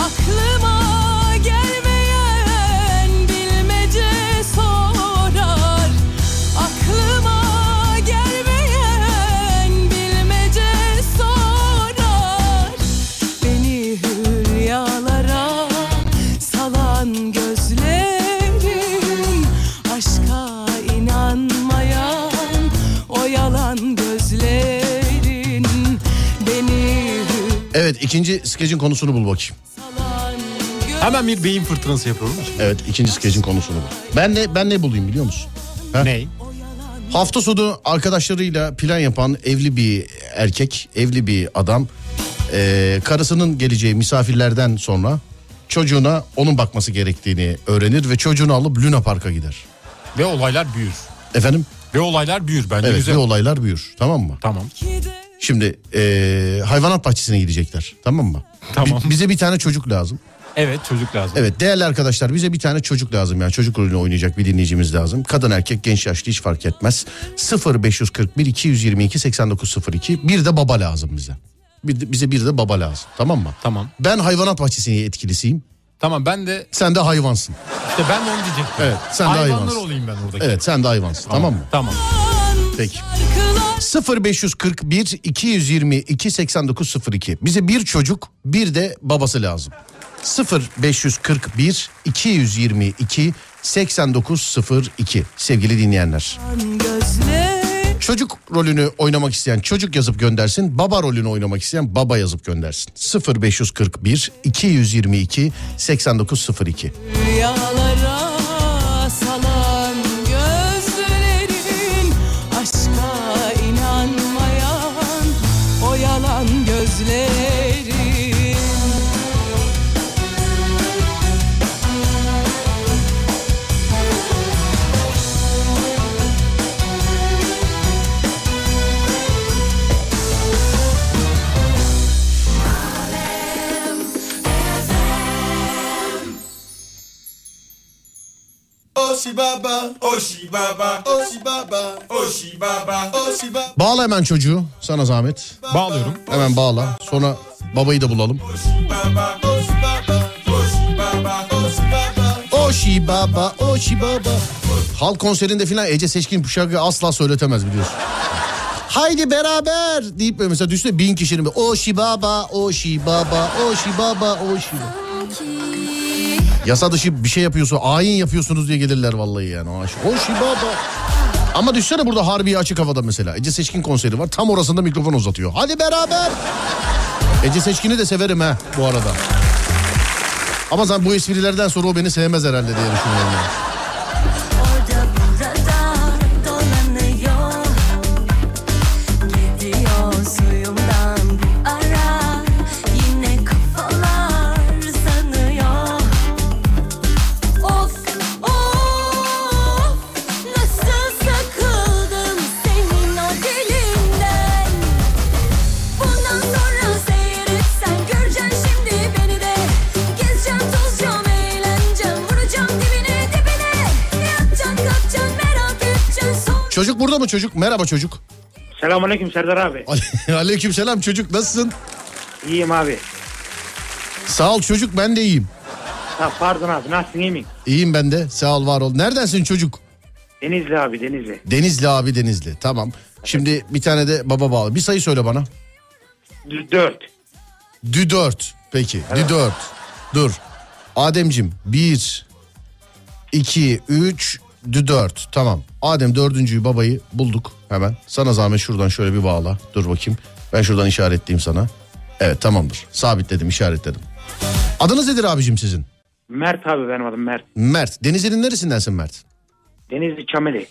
Aklıma gelmeyen bilmece sorar Aklıma gelmeyen bilmece sorar Beni hülyalara salan gözlerim Aşka inanmayan o yalan gözlerin Beni Evet ikinci skecin konusunu bul bakayım. hülyalan Hemen bir beyin fırtınası yapıyorum. Evet ikinci skecin konusunu bul. Ben ne ben ne bulayım biliyor musun? Ha? Ney? Hafta sonu arkadaşlarıyla plan yapan evli bir erkek, evli bir adam eee, karısının geleceği misafirlerden sonra çocuğuna onun bakması gerektiğini öğrenir ve çocuğunu alıp Luna Park'a gider. Ve olaylar büyür. Efendim? Ve olaylar büyür bence Evet güzel. ve olaylar büyür tamam mı? Tamam. gözlerin Şimdi eee, hayvanat bahçesine gidecekler tamam mı? Tamam. Bi- bize bir tane çocuk lazım. Evet çocuk lazım. Evet değerli arkadaşlar bize bir tane çocuk lazım yani çocuk rolünü oynayacak bir dinleyicimiz lazım. Kadın erkek genç yaşlı hiç fark etmez. 0541 222 8902 bir de baba lazım bize. Bir de- bize bir de baba lazım tamam mı? Tamam. Ben hayvanat bahçesinin etkilisiyim. Tamam ben de Sen de hayvansın. işte ben de onu diyecektim. Evet, sen de Hayvanlar hayvansın. olayım ben oradaki. Evet sen de hayvansın tamam mı? Tamam. Peki. şarkılar 0541 222 8902. Bize bir çocuk bir de babası lazım. 0541 222 8902 sevgili dinleyenler. gözlerin Çocuk rolünü oynamak isteyen çocuk yazıp göndersin. Baba rolünü oynamak isteyen baba yazıp göndersin. 0541 222 8902. Rüyalara salan gözlerin Aşka inanmayan o yalan gözlerin Oshibaba, Oshibaba, Oshibaba, Oshibaba, Oshibaba. Bağla hemen çocuğu sana zahmet. Bağlıyorum. Hemen bağla. Sonra babayı da bulalım. Oshibaba, Oshibaba, Oshibaba, Oshibaba. Oşi baba, oşi baba. Halk konserinde filan Ece Seçkin bu şarkıyı asla söyletemez biliyorsun. Haydi beraber deyip böyle mesela düşünsene bin kişinin böyle oşi baba, oşi baba, oşi baba, oşi baba. Yasa dışı bir şey yapıyorsun, ayin yapıyorsunuz diye gelirler vallahi yani. Oşi, oşi baba. Ama düşünsene burada harbi açık havada mesela. Ece Seçkin konseri var. Tam orasında mikrofon uzatıyor. Hadi beraber. Ece Seçkin'i de severim ha bu arada. Ama sen bu esprilerden sonra o beni sevmez herhalde diye düşünüyorum. yani. Orada burada dolanıyor Gidiyor suyumdan bu ara Yine kafalar sanıyor Of of nasıl sakıldım senin o dilinden Bundan sonra seyretsen göreceksin şimdi beni de Gezeceğim tozacağım eğleneceğim vuracağım dibine dibine Yatacaksın kalkacaksın merak edeceksin sonra Çocuk burada mı çocuk? Merhaba çocuk. Selamünaleyküm Serdar abi. Ale- Aleykümselam çocuk nasılsın? İyiyim abi. Sağ ol çocuk ben de iyiyim. Ha, pardon abi nasılsın iyi miyim? İyiyim ben de sağ ol var ol. Neredensin çocuk? Denizli abi Denizli. Denizli abi Denizli tamam. Şimdi bir tane de baba bağlı. Bir sayı söyle bana. D- Dört. Dü 4 peki. Dü 4. Dur. Ademcim 1 2 3 Dü 4 tamam. Adem dördüncüyü babayı bulduk hemen. Sana zahmet şuradan şöyle bir bağla. Dur bakayım. Ben şuradan işaretleyeyim sana. Evet tamamdır. Sabitledim işaretledim. Adınız nedir abicim sizin? Mert abi benim adım Mert. Mert. Denizli'nin neresindensin Mert? Denizli Çameli.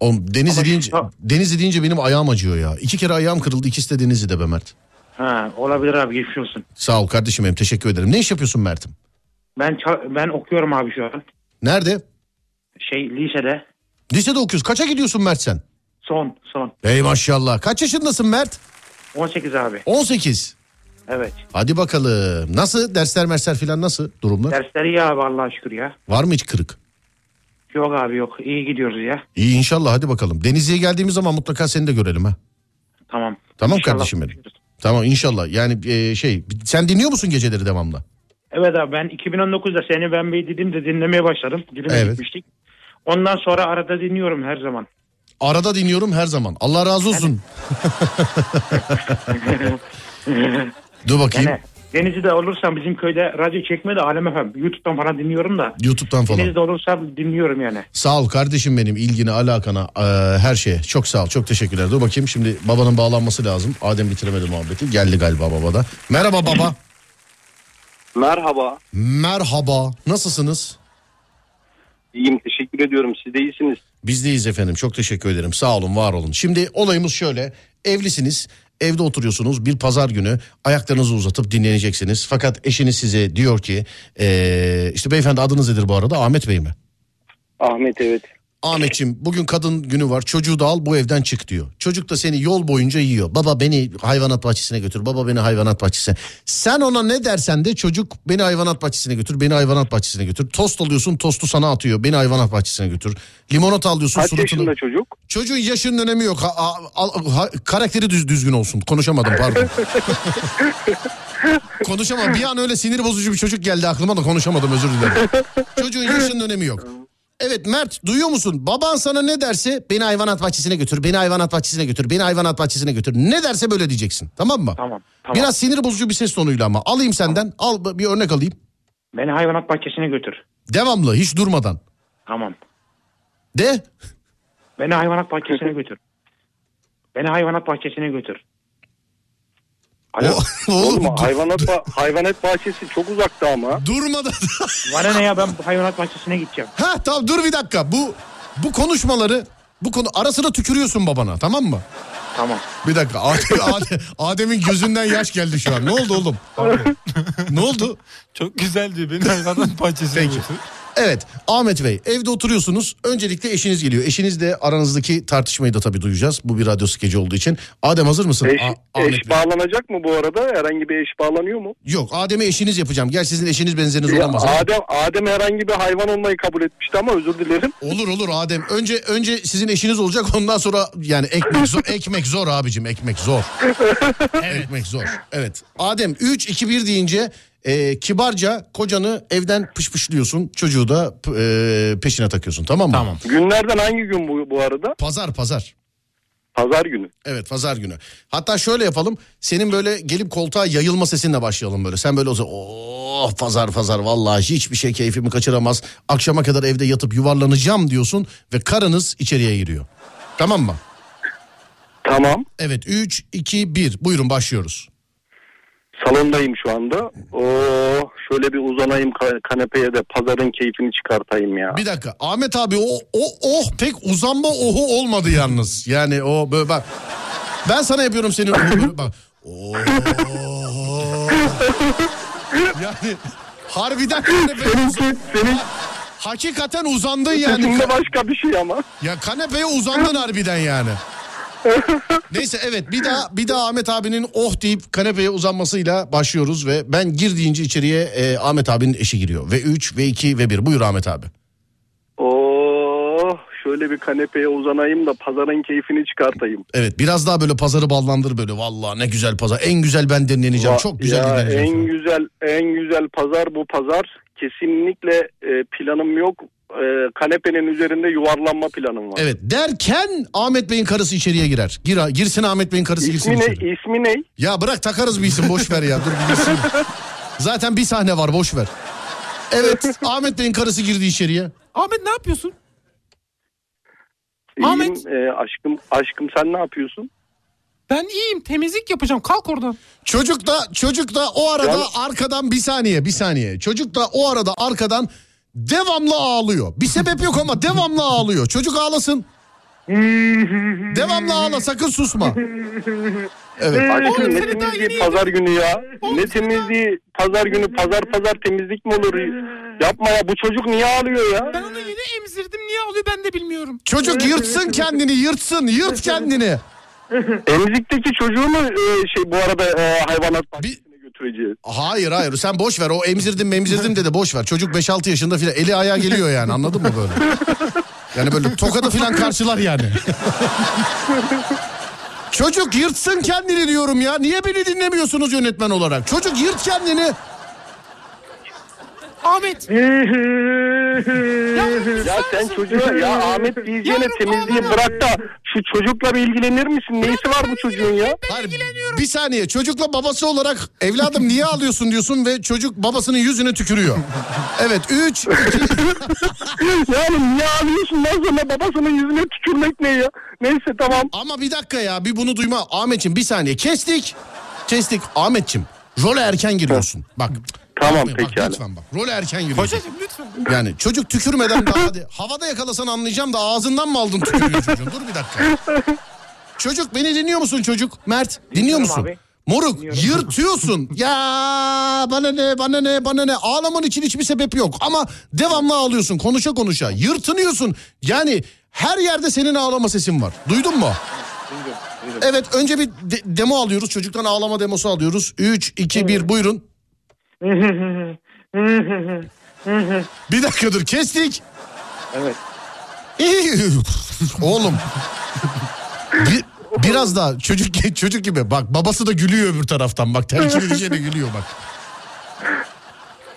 Oğlum Denizli Ama- deyince, Ha. Denizli deyince benim ayağım acıyor ya. İki kere ayağım kırıldı ikisi de Denizli'de be Mert. Ha, olabilir abi geçmiş olsun. Sağ ol kardeşim benim teşekkür ederim. Ne iş yapıyorsun Mert'im? Ben ça- ben okuyorum abi şu an. Nerede? Şey lisede Lisede okuyoruz. Kaça gidiyorsun Mert sen? son son Ey maşallah. Kaç yaşındasın Mert? 18 abi. 18. Evet. Hadi bakalım. Nasıl? Dersler mersler filan nasıl durumlar? Dersleri iyi abi Allah'a şükür ya. Var mı hiç kırık? Yok abi yok. İyi gidiyoruz ya. İyi inşallah hadi bakalım. Denizli'ye geldiğimiz zaman mutlaka seni de görelim ha. Tamam. Tamam İnşallah kardeşim benim. görüşürüz. Tamam inşallah. Yani e, şey sen dinliyor musun geceleri devamlı? Evet abi ben 2019'da seni ben bir dedim de dinlemeye başladım. Dilime Evet. gitmiştik. Ondan sonra arada dinliyorum her zaman. Arada dinliyorum her zaman. Allah razı olsun. Dur bakayım. Yani Denizli'de olursam bizim köyde radyo çekme de Alem FM. Youtube'dan falan dinliyorum da. YouTube'dan falan. Denizli'de olursam dinliyorum yani. Sağ ol kardeşim benim ilgine alakana eee, her şeye çok sağ ol çok teşekkürler. Dur bakayım şimdi babanın bağlanması lazım. Adem bitiremedi muhabbeti geldi galiba babada. Merhaba baba. Merhaba. Merhaba nasılsınız? İyiyim teşekkür ediyorum. Siz de iyisiniz. Bizdeyiz efendim çok teşekkür ederim sağ olun var olun. Şimdi olayımız şöyle evlisiniz evde oturuyorsunuz bir pazar günü ayaklarınızı uzatıp dinleneceksiniz. Fakat eşiniz size diyor ki eee, işte beyefendi adınız nedir bu arada Ahmet Bey mi? Ahmet evet. Ahmetçim bugün kadın günü var çocuğu da al bu evden çık diyor. Çocuk da seni yol boyunca yiyor. Baba beni hayvanat bahçesine götür. Baba beni hayvanat bahçesine. Sen ona ne dersen de çocuk beni hayvanat bahçesine götür. Beni hayvanat bahçesine götür. Tost alıyorsun tostu sana atıyor. Beni hayvanat bahçesine götür. Limonata alıyorsun Kaç suratını- yaşında çocuk? Çocuğun yaşının önemi yok. Ha- ha- al- ha- karakteri düz düzgün olsun. Konuşamadım pardon. konuşamadım. Bir an öyle sinir bozucu bir çocuk geldi aklıma da konuşamadım özür dilerim. Çocuğun yaşının önemi yok. Evet Mert duyuyor musun? Baban sana ne derse beni hayvanat bahçesine götür, beni hayvanat bahçesine götür, beni hayvanat bahçesine götür. Ne derse böyle diyeceksin tamam mı? Tamam. tamam. Biraz sinir bozucu bir ses tonuyla ama. Alayım senden al bir örnek alayım. Beni hayvanat bahçesine götür. Devamlı hiç durmadan. Tamam. De. Beni hayvanat bahçesine götür. Beni hayvanat bahçesine götür. Alo. Oğlum, hayvanat, ba- hayvanat bahçesi çok uzakta ama. Durmadan. Bana ne ya ben bu hayvanat bahçesine gideceğim. Ha tamam dur bir dakika. Bu bu konuşmaları bu konu ara sıra tükürüyorsun babana tamam mı? Tamam. Bir dakika. Adem, Adem- Adem'in gözünden yaş geldi şu an. Ne oldu oğlum? ne oldu? Çok güzel diyor. Beni zaten bahçesine Peki. Evet Ahmet Bey evde oturuyorsunuz. Öncelikle eşiniz geliyor. Eşinizle aranızdaki tartışmayı da tabii duyacağız. Bu bir radyo skeci olduğu için. Adem hazır mısın? Eş, A- Ahmet eş bağlanacak mı bu arada? Herhangi bir eş bağlanıyor mu? Yok Adem'e eşiniz yapacağım. Gel sizin eşiniz benzeriniz Ya, olamaz. Adem, Adem herhangi bir hayvan olmayı kabul etmişti ama özür dilerim. Olur olur Adem. Önce önce sizin eşiniz olacak ondan sonra yani ekmek zor, ekmek zor abicim ekmek zor. Ekmek zor. Evet. Adem 3 2 1 deyince e, kibarca kocanı evden pışpışlıyorsun. Çocuğu da e, peşine takıyorsun tamam mı? Tamam. Günlerden hangi gün bu, bu arada? Pazar pazar. Pazar günü. Evet pazar günü. Hatta şöyle yapalım. Senin böyle gelip koltuğa yayılma sesinle başlayalım böyle. Sen böyle olsa oh pazar pazar vallahi hiçbir şey keyfimi kaçıramaz. Akşama kadar evde yatıp yuvarlanacağım diyorsun ve karınız içeriye giriyor. Tamam mı? Tamam. Evet 3 2 1 buyurun başlıyoruz. Salondayım şu anda. Oo, şöyle bir uzanayım ka- kanepeye de pazarın keyfini çıkartayım ya. Bir dakika Ahmet abi o o oh pek uzanma ohu olmadı yalnız. Yani o böyle bak ben sana yapıyorum seni bak. Oh. yani harbiden Senin, senin Hakikaten uzandın yani. seçimde başka bir şey ama. Ya kanepeye uzandın harbiden yani. Neyse evet bir daha bir daha Ahmet abinin oh deyip kanepeye uzanmasıyla başlıyoruz ve ben gir deyince içeriye e, Ahmet abinin eşi giriyor. Ve 3 ve 2 ve 1 buyur Ahmet abi. Oo, şöyle bir kanepeye uzanayım da pazarın keyfini çıkartayım. Evet biraz daha böyle pazarı ballandır böyle vallahi ne güzel pazar en güzel ben dinleneceğim Va- çok güzel ya dinleneceğim. En güzel en güzel pazar bu pazar. Kesinlikle e, planım yok. E, kanepenin üzerinde yuvarlanma planım var. Evet derken Ahmet Bey'in karısı içeriye girer. Gir, girsin Ahmet Bey'in karısı girsin İsmi ne? içeri. İsmi ne? Ya bırak takarız bir isim boş ver ya. Dur bir girsin. Zaten bir sahne var boş ver. Evet Ahmet Bey'in karısı girdi içeriye. Ahmet ne yapıyorsun? İyiyim, Ahmet. e, aşkım aşkım sen ne yapıyorsun? Ben iyiyim temizlik yapacağım kalk oradan. Çocuk da çocuk da o arada Yani- arkadan bir saniye bir saniye. Çocuk da o arada arkadan devamlı ağlıyor. Bir sebep yok ama devamlı ağlıyor. Çocuk ağlasın. devamlı ağla sakın susma. Evet. Aşkım ne seni daha temizliği yeni pazar günü ya. Ne temizliği pazar günü pazar pazar temizlik mi olur? Yapma ya bu çocuk niye ağlıyor ya? Ben onu yeni emzirdim niye ağlıyor ben de bilmiyorum. Çocuk yırtsın kendini yırtsın yırt kendini. Emzikteki çocuğu mu e, şey bu arada e, hayvanat bahçesine götüreceğiz? Hayır hayır sen boş ver o emzirdim memzirdim dedi boş ver. Çocuk 5-6 yaşında filan eli ayağa geliyor yani anladın mı böyle? Yani böyle tokadı filan karşılar yani. Çocuk yırtsın kendini diyorum ya. Niye beni dinlemiyorsunuz yönetmen olarak? Çocuk yırt kendini. Ahmet. Ya sen çocuğa ya Ahmet diyeceğine Yavrum, temizliği ağlama. bırak da şu çocukla bir ilgilenir misin? Neyisi var bu çocuğun ya? Hayır, bir saniye çocukla babası olarak evladım niye ağlıyorsun diyorsun ve çocuk babasının yüzüne tükürüyor. Evet 3 Yani niye ağlıyorsun lan sonra babasının yüzüne tükürmek ne ya? Neyse tamam. Ama bir dakika ya bir bunu duyma. Ahmetçim bir saniye kestik. Kestik Ahmetçim. Role erken giriyorsun. Bak. Tamam Bak, pekala. Lütfen bak. Role erken giriyorsun. Kocacığım lütfen. Yani çocuk tükürmeden daha hadi. Havada yakalasan anlayacağım da ağzından mı aldın tükürüyor çocuğun? Dur bir dakika. Çocuk beni dinliyor musun çocuk? Mert dinliyor Dinliyorum musun? abi. Moruk Dinliyorum. yırtıyorsun. ya bana ne bana ne bana ne ağlaman için hiçbir sebep yok ama devamlı ağlıyorsun konuşa konuşa yırtınıyorsun. Yani her yerde senin ağlama sesin var. Duydun mu? Evet önce bir de- demo alıyoruz. Çocuktan ağlama demosu alıyoruz. 3 2 1 buyurun. Bir dakika dur kestik. Evet. Oğlum. Bir- biraz daha çocuk çocuk gibi. Bak babası da gülüyor öbür taraftan. Bak terk edince de gülüyor bak.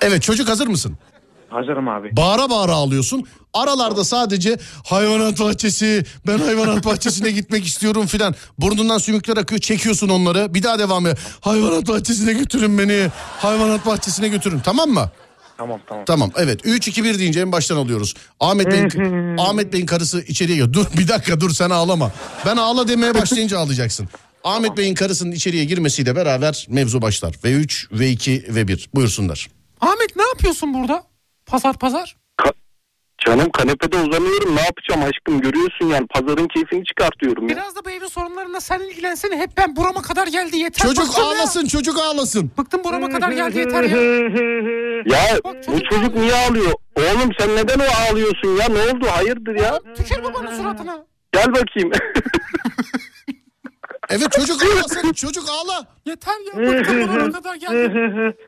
Evet çocuk hazır mısın? Hazırım abi. Bağıra bağıra ağlıyorsun. Aralarda sadece hayvanat bahçesi, ben hayvanat bahçesine gitmek istiyorum filan. Burnundan sümükler akıyor, çekiyorsun onları. Bir daha devam et. Hayvanat bahçesine götürün beni, hayvanat bahçesine götürün. Tamam mı? Tamam tamam. Tamam evet 3 2 1 deyince en baştan alıyoruz. Ahmet Bey'in Ahmet Bey'in karısı içeriye gir. Dur bir dakika dur sen ağlama. Ben ağla demeye başlayınca ağlayacaksın. Ahmet Bey'in karısının içeriye girmesiyle beraber mevzu başlar. Ve 3 ve 2 ve 1 buyursunlar. Ahmet ne yapıyorsun burada? Pazar pazar. Canım kanepede uzanıyorum ne yapacağım aşkım görüyorsun yani pazarın keyfini çıkartıyorum ya. Biraz da bu evin sorunlarına sen ilgilensene. Hep ben burama kadar geldi yeter. Çocuk Bıktım ya. ağlasın çocuk ağlasın. Bıktım burama kadar geldi yeter ya. Ya bu çocuk niye ağlıyor? Oğlum sen neden o ağlıyorsun ya ne oldu hayırdır ya? Tükür babanın suratına. Gel bakayım. Evet çocuk ağlasın çocuk ağla. Yeter ya. Bıktım burama kadar geldi.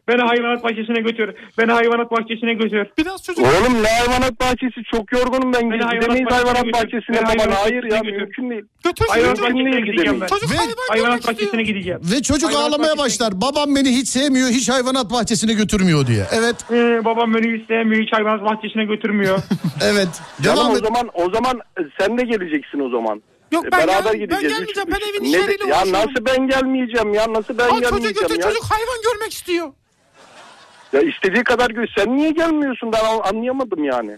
Beni hayvanat bahçesine götür. Beni hayvanat bahçesine götür. Biraz çocuk. Oğlum ne hayvanat bahçesi çok yorgunum ben hayvanat gidemeyiz hayvanat bahçesine bahçesine götür. falan Beni hayır ya hayvanat bahçesine mümkün değil. Götür Hayvanat çocuk. Mümkün bahçesine değil gideceğim gidemeyiz. ben. Çocuk Ve- hayvan Hayvanat görmek bahçesine istiyor. gideceğim. Ve çocuk Hayvanat ağlamaya bahçesine başlar. Babam beni hiç sevmiyor hiç hayvanat bahçesine götürmüyor diye. Evet Ee, babam beni hiç sevmiyor. Hiç hayvanat bahçesine götürmüyor. evet. Canım Devam o et. zaman o zaman e, sen de geleceksin o zaman. Yok, E, ben Beraber gel- ben gideceğiz. gelmeyeceğim. Ben evin Ne- işleriyle Ya uğraşıyorum. nasıl ben gelmeyeceğim ya nasıl ben Al çocuğu gelmeyeceğim götür ya. çocuk hayvan görmek istiyor. Ya istediği kadar göz. Sen niye gelmiyorsun ben an- anlayamadım yani.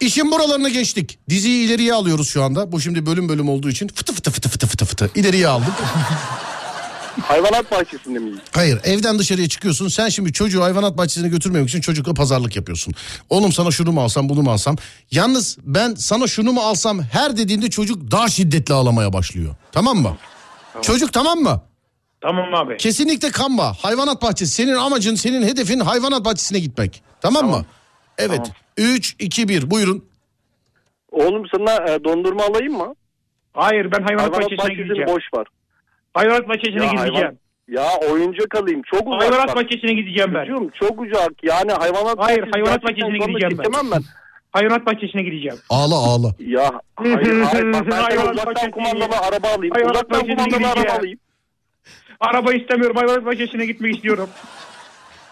İşin buralarına geçtik. Diziyi ileriye alıyoruz şu anda. Bu şimdi bölüm bölüm olduğu için fıtı fıtı fıtı fıtı fıtı fıtı ileriye aldık. Hayvanat bahçesinde miyiz? Hayır evden dışarıya çıkıyorsun sen şimdi çocuğu hayvanat bahçesine götürmemek için çocukla pazarlık yapıyorsun. Oğlum sana şunu mu alsam bunu mu alsam. Yalnız ben sana şunu mu alsam her dediğinde çocuk daha şiddetli ağlamaya başlıyor. Tamam mı? Çocuk tamam mı? tamam abi. Kesinlikle kanma. Hayvanat bahçesi senin amacın senin hedefin hayvanat bahçesine gitmek. Tamam, mı? Evet. Tamam. 3, 2, 1 buyurun. Oğlum sana e, dondurma alayım mı? Hayır ben hayvanat, Hayvanat bahçesine bahçesini gideceğim. boş ver. Hayvanat bahçesine gideceğim. ya oyuncak alayım. Çok uzak. Hayvanat bak. bahçesine gideceğim ben. Çocuğum, çok uzak. Yani hayvanat Hayır, bahçesi hayvanat gerçekten bahçesine sonra gideceğim ben. Gidemem ben. Hayvanat bahçesine gideceğim. Ağla ağla. Ya hayır hayır. Bak ben sana Hayvanat uzaktan bahçesine kumandalı gideceğim. araba alayım. Hayvanat uzaktan bahçesine kumandalı araba gideceğim. alayım. Araba istemiyorum. Hayvanat bahçesine gitmek istiyorum.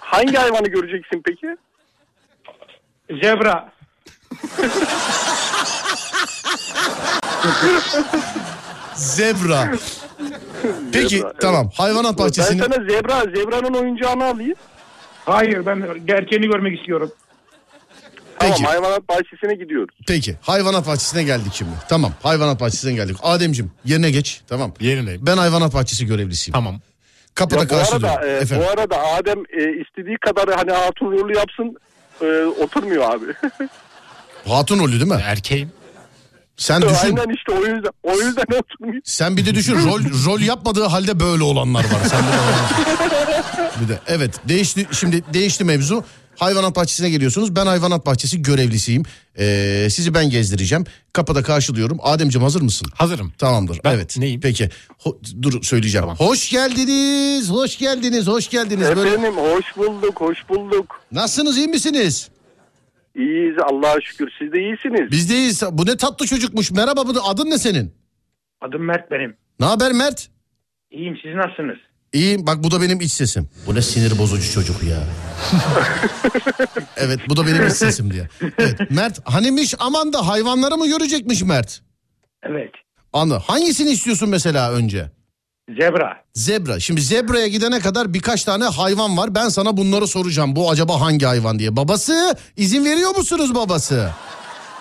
Hangi hayvanı göreceksin peki? Zebra. Zebra. Peki Zebra, evet. tamam hayvanat bahçesini. Ben sana zebra, zebranın oyuncağını alayım. Hayır ben gerçeğini görmek istiyorum. Peki. Tamam hayvanat bahçesine gidiyoruz. Peki hayvanat bahçesine geldik şimdi. Tamam hayvanat bahçesine geldik. Ademcim yerine geç tamam. Yerine. Ben hayvanat bahçesi görevlisiyim. Tamam. Kapıda Ya bu arada, karşılıyorum. e, Efendim. bu arada Adem e, istediği kadar hani hatun rolü yapsın e, oturmuyor abi. Hatun rolü değil mi? Erkeğim. Sen düşün. Aynen işte o yüzden, o yüzden oturmuyor. Sen bir de düşün rol rol yapmadığı halde böyle olanlar var. Sen de var. bir de evet değişti şimdi değişti mevzu. Hayvanat bahçesine geliyorsunuz. Ben hayvanat bahçesi görevlisiyim. Ee, sizi ben gezdireceğim. Kapıda karşılıyorum. Ademcim hazır mısın? Hazırım. Tamamdır. Ben evet. neyim? Peki. Ho- dur söyleyeceğim. Hoş geldiniz. Hoş geldiniz. Hoş geldiniz. Böyle Efendim hoş bulduk, hoş bulduk. Nasılsınız iyi misiniz? İyiyiz Allah'a şükür siz de iyisiniz. Biz deyiz. Bu ne tatlı çocukmuş. Merhaba bu da- adın ne senin? Adım Mert benim. Ne haber Mert? İyiyim siz nasılsınız? İyiyim bak bu da benim iç sesim. Bu ne sinir bozucu çocuk ya. evet bu da benim iç sesim diye. Evet, Mert hanimiş aman da hayvanları mı görecekmiş Mert? Evet. Anla. Hangisini istiyorsun mesela önce? Zebra. Zebra. Şimdi zebraya gidene kadar birkaç tane hayvan var. Ben sana bunları soracağım. Bu acaba hangi hayvan diye. Babası izin veriyor musunuz babası?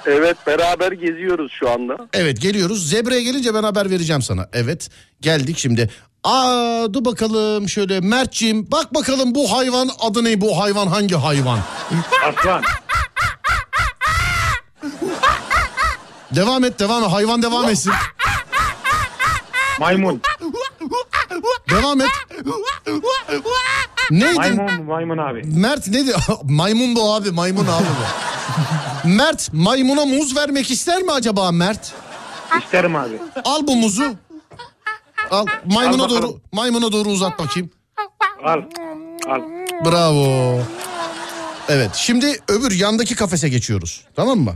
Evet beraber geziyoruz şu anda. Evet geliyoruz. Zebra'ya gelince ben haber vereceğim sana. Evet geldik şimdi. Aa dur bakalım şöyle Mert'ciğim bak bakalım bu hayvan adı ne bu hayvan hangi hayvan? Aslan. Devam et devam et hayvan devam etsin. Maymun. Devam et. Neydi? Maymun maymun abi. Mert neydi? maymun bu abi maymun abi bu. Mert maymuna muz vermek ister mi acaba Mert? İsterim abi. Al bu muzu. Al maymuna Al bakalım. doğru maymuna doğru uzat bakayım. Al. Al. Bravo. Evet şimdi öbür yandaki kafese geçiyoruz. Tamam mı?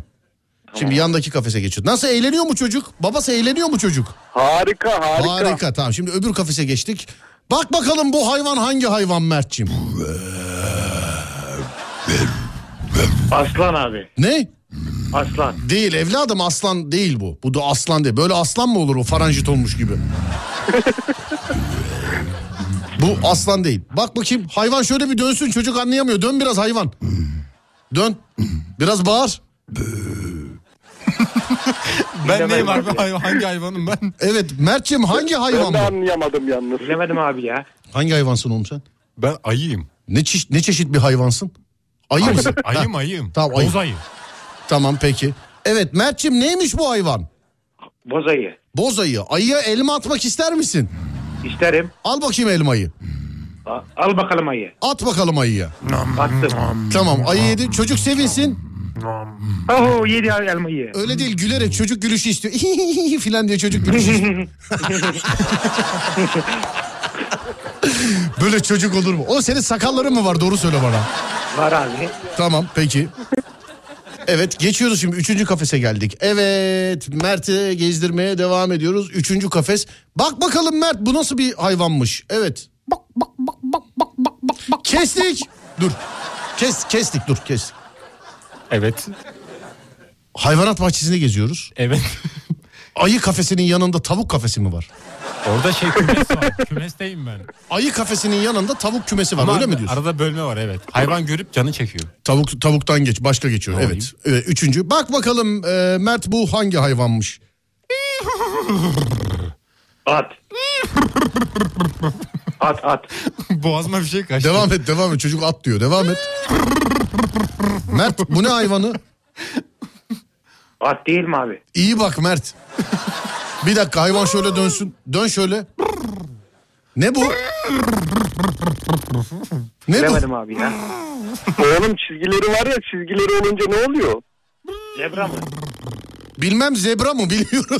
Şimdi yandaki kafese geçiyoruz. Nasıl eğleniyor mu çocuk? Babası eğleniyor mu çocuk? Harika harika. Harika. tamam şimdi öbür kafese geçtik. Bak bakalım bu hayvan hangi hayvan Mert'ciğim? Aslan abi. Ne? Aslan. Değil evladım aslan değil bu. Bu da aslan değil. Böyle aslan mı olur o faranjit olmuş gibi? bu aslan değil. Bak bakayım hayvan şöyle bir dönsün çocuk anlayamıyor. Dön biraz hayvan. Dön. Biraz bağır. Ben neyim abi? Hay- Hangi hayvanım ben? Evet Mert'ciğim hangi hayvan bu? anlayamadım yalnız. Bilemedim abi ya. Hangi hayvansın oğlum sen? Ben ayıyım. Ne, çeşit ne çeşit bir hayvansın? Ayı Ayı- mısın? ayım, Ha, ayım. Tamam ayı. Boz ayı. Tamam peki. Evet Mert'ciğim neymiş bu hayvan? Bozayı. Boz ayı. Ayıya elma atmak ister misin? İsterim. Al bakayım elmayı. A- Al bakalım ayı. At bakalım ayıya. Attım. Tamam ayı yedi. Çocuk sevinsin. Oho yedi elmayı. Öyle değil gülerek çocuk gülüşü istiyor. filan diye çocuk gülüşü istiyor. Böyle çocuk olur mu? O senin sakalların mı var doğru söyle bana. Var abi. Tamam peki. Evet geçiyoruz şimdi üçüncü kafese geldik. Evet Mert'i gezdirmeye devam ediyoruz. Üçüncü kafes. Bak bakalım Mert bu nasıl bir hayvanmış. Evet. Bak bak bak bak bak bak bak bak. Kestik. Dur. Kes kestik dur kestik. Evet. Hayvanat bahçesinde geziyoruz. Evet. Ayı kafesinin yanında tavuk kafesi mi var? Orada şey kümes var. Kümesteyim ben. Ayı kafesinin yanında tavuk kümesi var Ama öyle mi diyorsun? Arada bölme var evet. Hayvan görüp canı çekiyor. Tavuk tavuktan geç başka geçiyor Tamam. evet. Evet, Ee, Üçüncü bak bakalım e, Mert bu hangi hayvanmış? At. at at. Boğazıma bir şey kaçtı. Devam et devam et çocuk at diyor devam et. Mert bu ne hayvanı? At değil mi abi? İyi bak Mert. Bir dakika hayvan şöyle dönsün. Dön şöyle. Ne bu? Ne bu? Bilemedim abi ya. Oğlum çizgileri var ya çizgileri olunca ne oluyor? Zebra mı? Bilmem zebra mı biliyorum.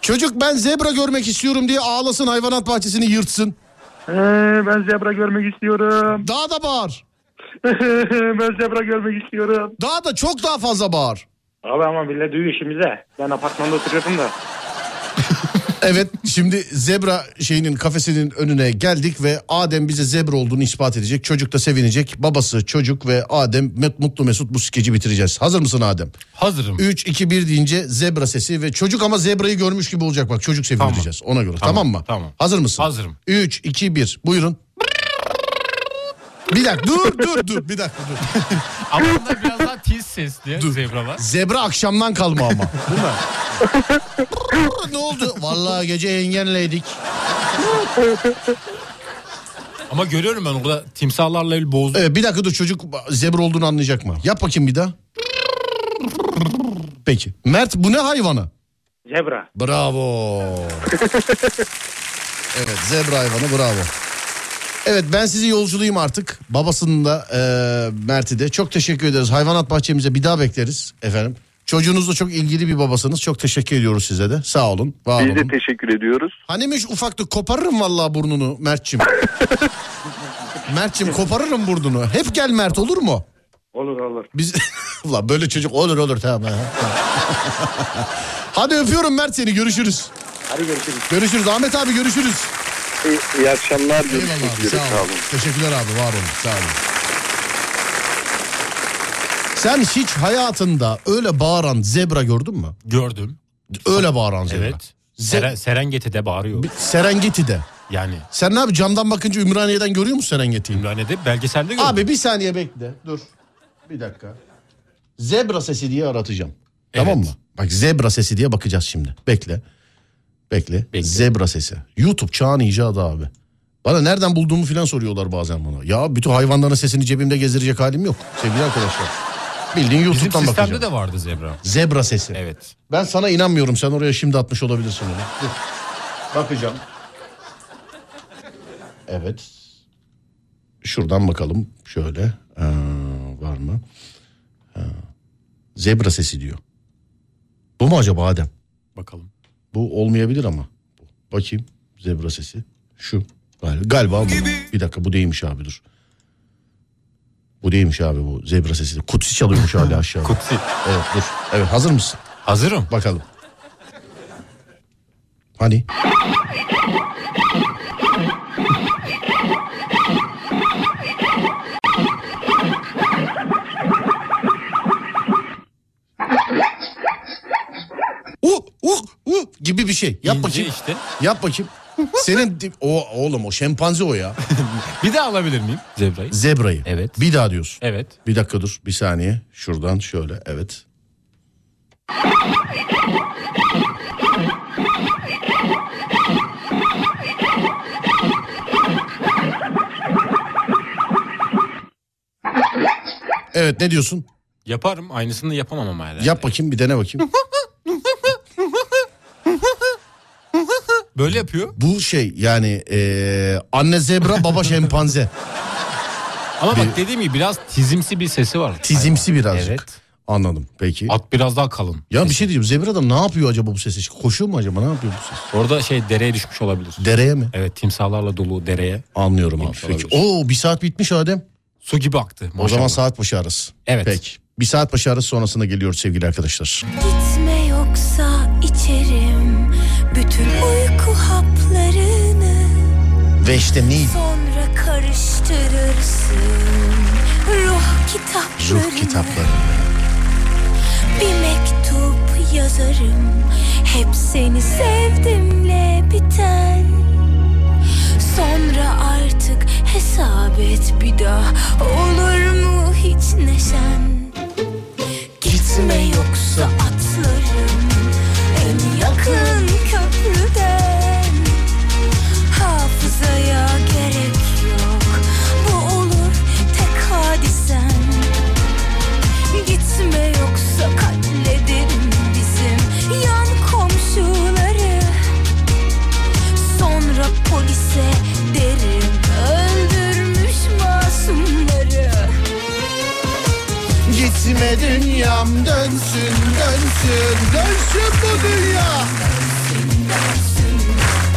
Çocuk ben zebra görmek istiyorum diye ağlasın hayvanat bahçesini yırtsın. Ee, ben zebra görmek istiyorum. Daha da bağır. ben zebra görmek istiyorum. Daha da çok daha fazla bağır. Abi ama bile duyuyor işimize. Ben apartmanda oturuyordum da. Evet şimdi zebra şeyinin kafesinin önüne geldik ve Adem bize zebra olduğunu ispat edecek. Çocuk da sevinecek. Babası çocuk ve Adem met- mutlu mesut bu skeci bitireceğiz. Hazır mısın Adem? Hazırım. 3 2 1 deyince zebra sesi ve çocuk ama zebrayı görmüş gibi olacak bak. Çocuk sevindireceğiz ona göre. Tamam, Tamam, mı? tamam. Hazır mısın? Hazırım. 3 2 1 buyurun. Bir dakika dur dur dur bir dakika dur. Ama onlar biraz daha tiz sesli Dur. zebra var. Zebra akşamdan kalma ama. Değil mi? ne oldu? Vallahi gece yengenleydik. Ama görüyorum ben orada timsahlarla el boğuz. Ee, bir dakika dur çocuk zebra olduğunu anlayacak mı? Yap bakayım bir daha. Peki. Mert bu ne hayvanı? Zebra. Bravo. evet zebra hayvanı bravo. Evet ben sizi yolculuyum artık. Babasının da e, Mert'i de. Çok teşekkür ederiz. Hayvanat bahçemize bir daha bekleriz efendim. Çocuğunuzla çok ilgili bir babasınız. Çok teşekkür ediyoruz size de. Sağ olun. Var Biz de olun. teşekkür ediyoruz. Hanimiş ufaklık Hani koparırım vallahi burnunu Mert'cim. Mert'cim koparırım burnunu. Hep gel Mert olur mu? Olur olur. Biz Ulan böyle çocuk olur olur tamam. ha. Hadi öpüyorum Mert seni görüşürüz. Hadi görüşürüz. Görüşürüz Ahmet abi görüşürüz. İyi, iyi akşamlar. Eyvallah Görüşmek abi üzere. sağ Sağ olun. olun. Teşekkürler abi var olun sağ olun. Sen hiç hayatında öyle bağıran zebra gördün mü? Gördüm. Öyle bağıran zebra. Evet. Ze- Seren, Serengeti'de bağırıyor. Serengeti'de. Yani Sen ne abi camdan bakınca Ümraniye'den görüyor musun Serengeti'yi? Ümraniye'de belgeselde gördüm. Abi bir saniye bekle. Dur. Bir dakika. Zebra sesi diye aratacağım. Tamam mı? Evet. Bak zebra sesi diye bakacağız şimdi. Bekle. Bekle. Bekle. Zebra sesi. YouTube çağın icadı abi. Bana nereden bulduğumu falan soruyorlar bazen bana. Ya bütün hayvanların sesini cebimde gezdirecek halim yok. Sevgili arkadaşlar. Bildiğin Bizim YouTube'dan sistemde bakacağım. de vardı zebra. Zebra sesi. Evet. Ben sana inanmıyorum. Sen oraya şimdi atmış olabilirsin onu. Dur. Bakacağım. Evet. Şuradan bakalım. Şöyle. Ee, var mı? Ee, zebra sesi diyor. Bu mu acaba Adem? Bakalım. Bu olmayabilir ama. Bakayım. Zebra sesi. Şu. Gal- Galiba bu. Bir dakika bu değilmiş abi dur. Bu değilmiş abi bu zebra sesi. Kutsi çalıyormuş hala aşağıda. Kutsi. Evet dur. Evet hazır mısın? Hazırım. Bakalım. Hani? Uh, uh, uh gibi bir şey. Yap İnce bakayım. işte. şey. Yap bakayım. Senin di- o oğlum o şempanze o ya. bir daha alabilir miyim? Zebrayı. Zebrayı. Evet. Bir daha diyorsun. Evet. Bir dakika dur bir saniye. Şuradan şöyle evet. Evet ne diyorsun? Yaparım aynısını yapamam ama herhalde. Yap bakayım bir dene bakayım. Böyle yapıyor. Bu şey yani eee, anne zebra baba şempanze. Ama bak dediğim gibi biraz tizimsi bir sesi var. Tizimsi birazcık. Anladım peki. At biraz daha kalın. Ya bir şey diyeceğim zebra da ne yapıyor acaba bu sesi? Koşuyor mu acaba ne yapıyor bu ses? Orada şey dereye düşmüş olabilir. Dereye mi? Evet timsahlarla dolu dereye. Anlıyorum abi. Peki. Oo bir saat bitmiş Adem. Su gibi aktı. O zaman maşallah. saat başı arası. Evet. Peki. Bir saat başı arası sonrasında geliyoruz sevgili arkadaşlar. Gitme yoksa içerim bütün uyku haplarını Ve işte ne? Sonra karıştırırsın ruh kitaplarını Ruh kitapları. Bir mektup yazarım hep seni sevdimle biten Sonra artık hesap et bir daha olur mu hiç neşen Gitme yoksa atlarım en yakın köprüden Hafızaya gerek yok Bu olur tek hadisen Gitme yoksa katlederim bizim yan komşuları Sonra polise derim öldürmüş masumları Gitme dünyam dönsün dönsün dönsün bu dünya Dönsün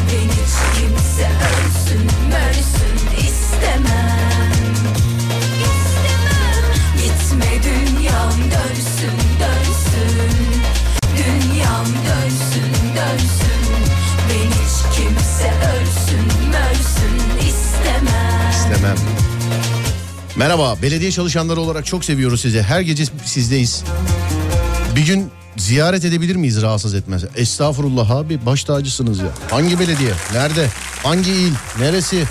beni hiç kimse ölsün mörsün istemem İstemem Gitme dünyam dönsün dönsün Dünyam dönsün dönsün Beni hiç kimse ölsün mörsün istemem İstemem. Merhaba, belediye çalışanları olarak çok seviyoruz sizi. Her gece sizdeyiz. Bir gün ziyaret edebilir miyiz rahatsız etmez? Estağfurullah abi, baş tacısınız ya. Hangi belediye? Nerede? Hangi il? Neresi?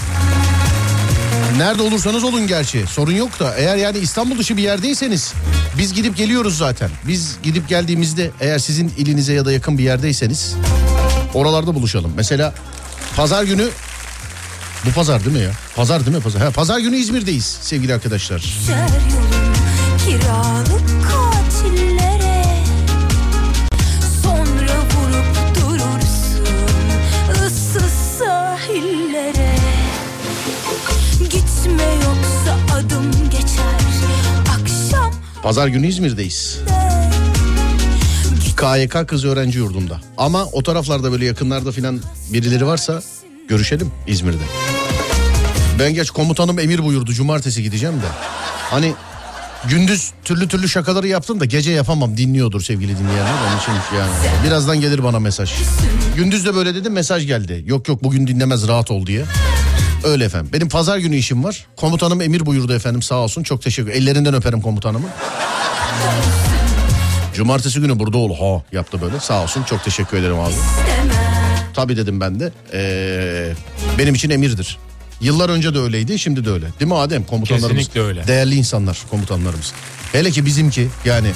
Nerede olursanız olun gerçi. Sorun yok da eğer yani İstanbul dışı bir yerdeyseniz biz gidip geliyoruz zaten. Biz gidip geldiğimizde eğer sizin ilinize ya da yakın bir yerdeyseniz oralarda buluşalım. Mesela pazar günü bu pazar değil mi ya? Pazar değil mi pazar? Ha, pazar günü İzmir'deyiz sevgili arkadaşlar. Düşer yolum kiralık katillere Sonra vurup durursun ıssız sahillere Gitme yoksa adım geçer akşam Pazar günü İzmir'deyiz. KYK kız öğrenci yurdunda. Ama o taraflarda böyle yakınlarda filan birileri varsa görüşelim İzmir'de. Ben geç komutanım emir buyurdu cumartesi gideceğim de. Hani gündüz türlü türlü şakaları yaptım da gece yapamam dinliyordur sevgili dinleyenler. Onun için yani birazdan gelir bana mesaj. Gündüz de böyle dedim mesaj geldi. Yok yok bugün dinlemez rahat ol diye. Öyle efendim. Benim pazar günü işim var. Komutanım emir buyurdu efendim sağ olsun. Çok teşekkür. Ellerinden öperim komutanımı. Cumartesi günü burada ol ha yaptı böyle. Sağ olsun çok teşekkür ederim abi. Tabii dedim ben de. Ee, benim için emirdir. Yıllar önce de öyleydi şimdi de öyle. Değil mi Adem komutanlarımız? Kesinlikle öyle. Değerli insanlar komutanlarımız. Hele ki bizimki yani.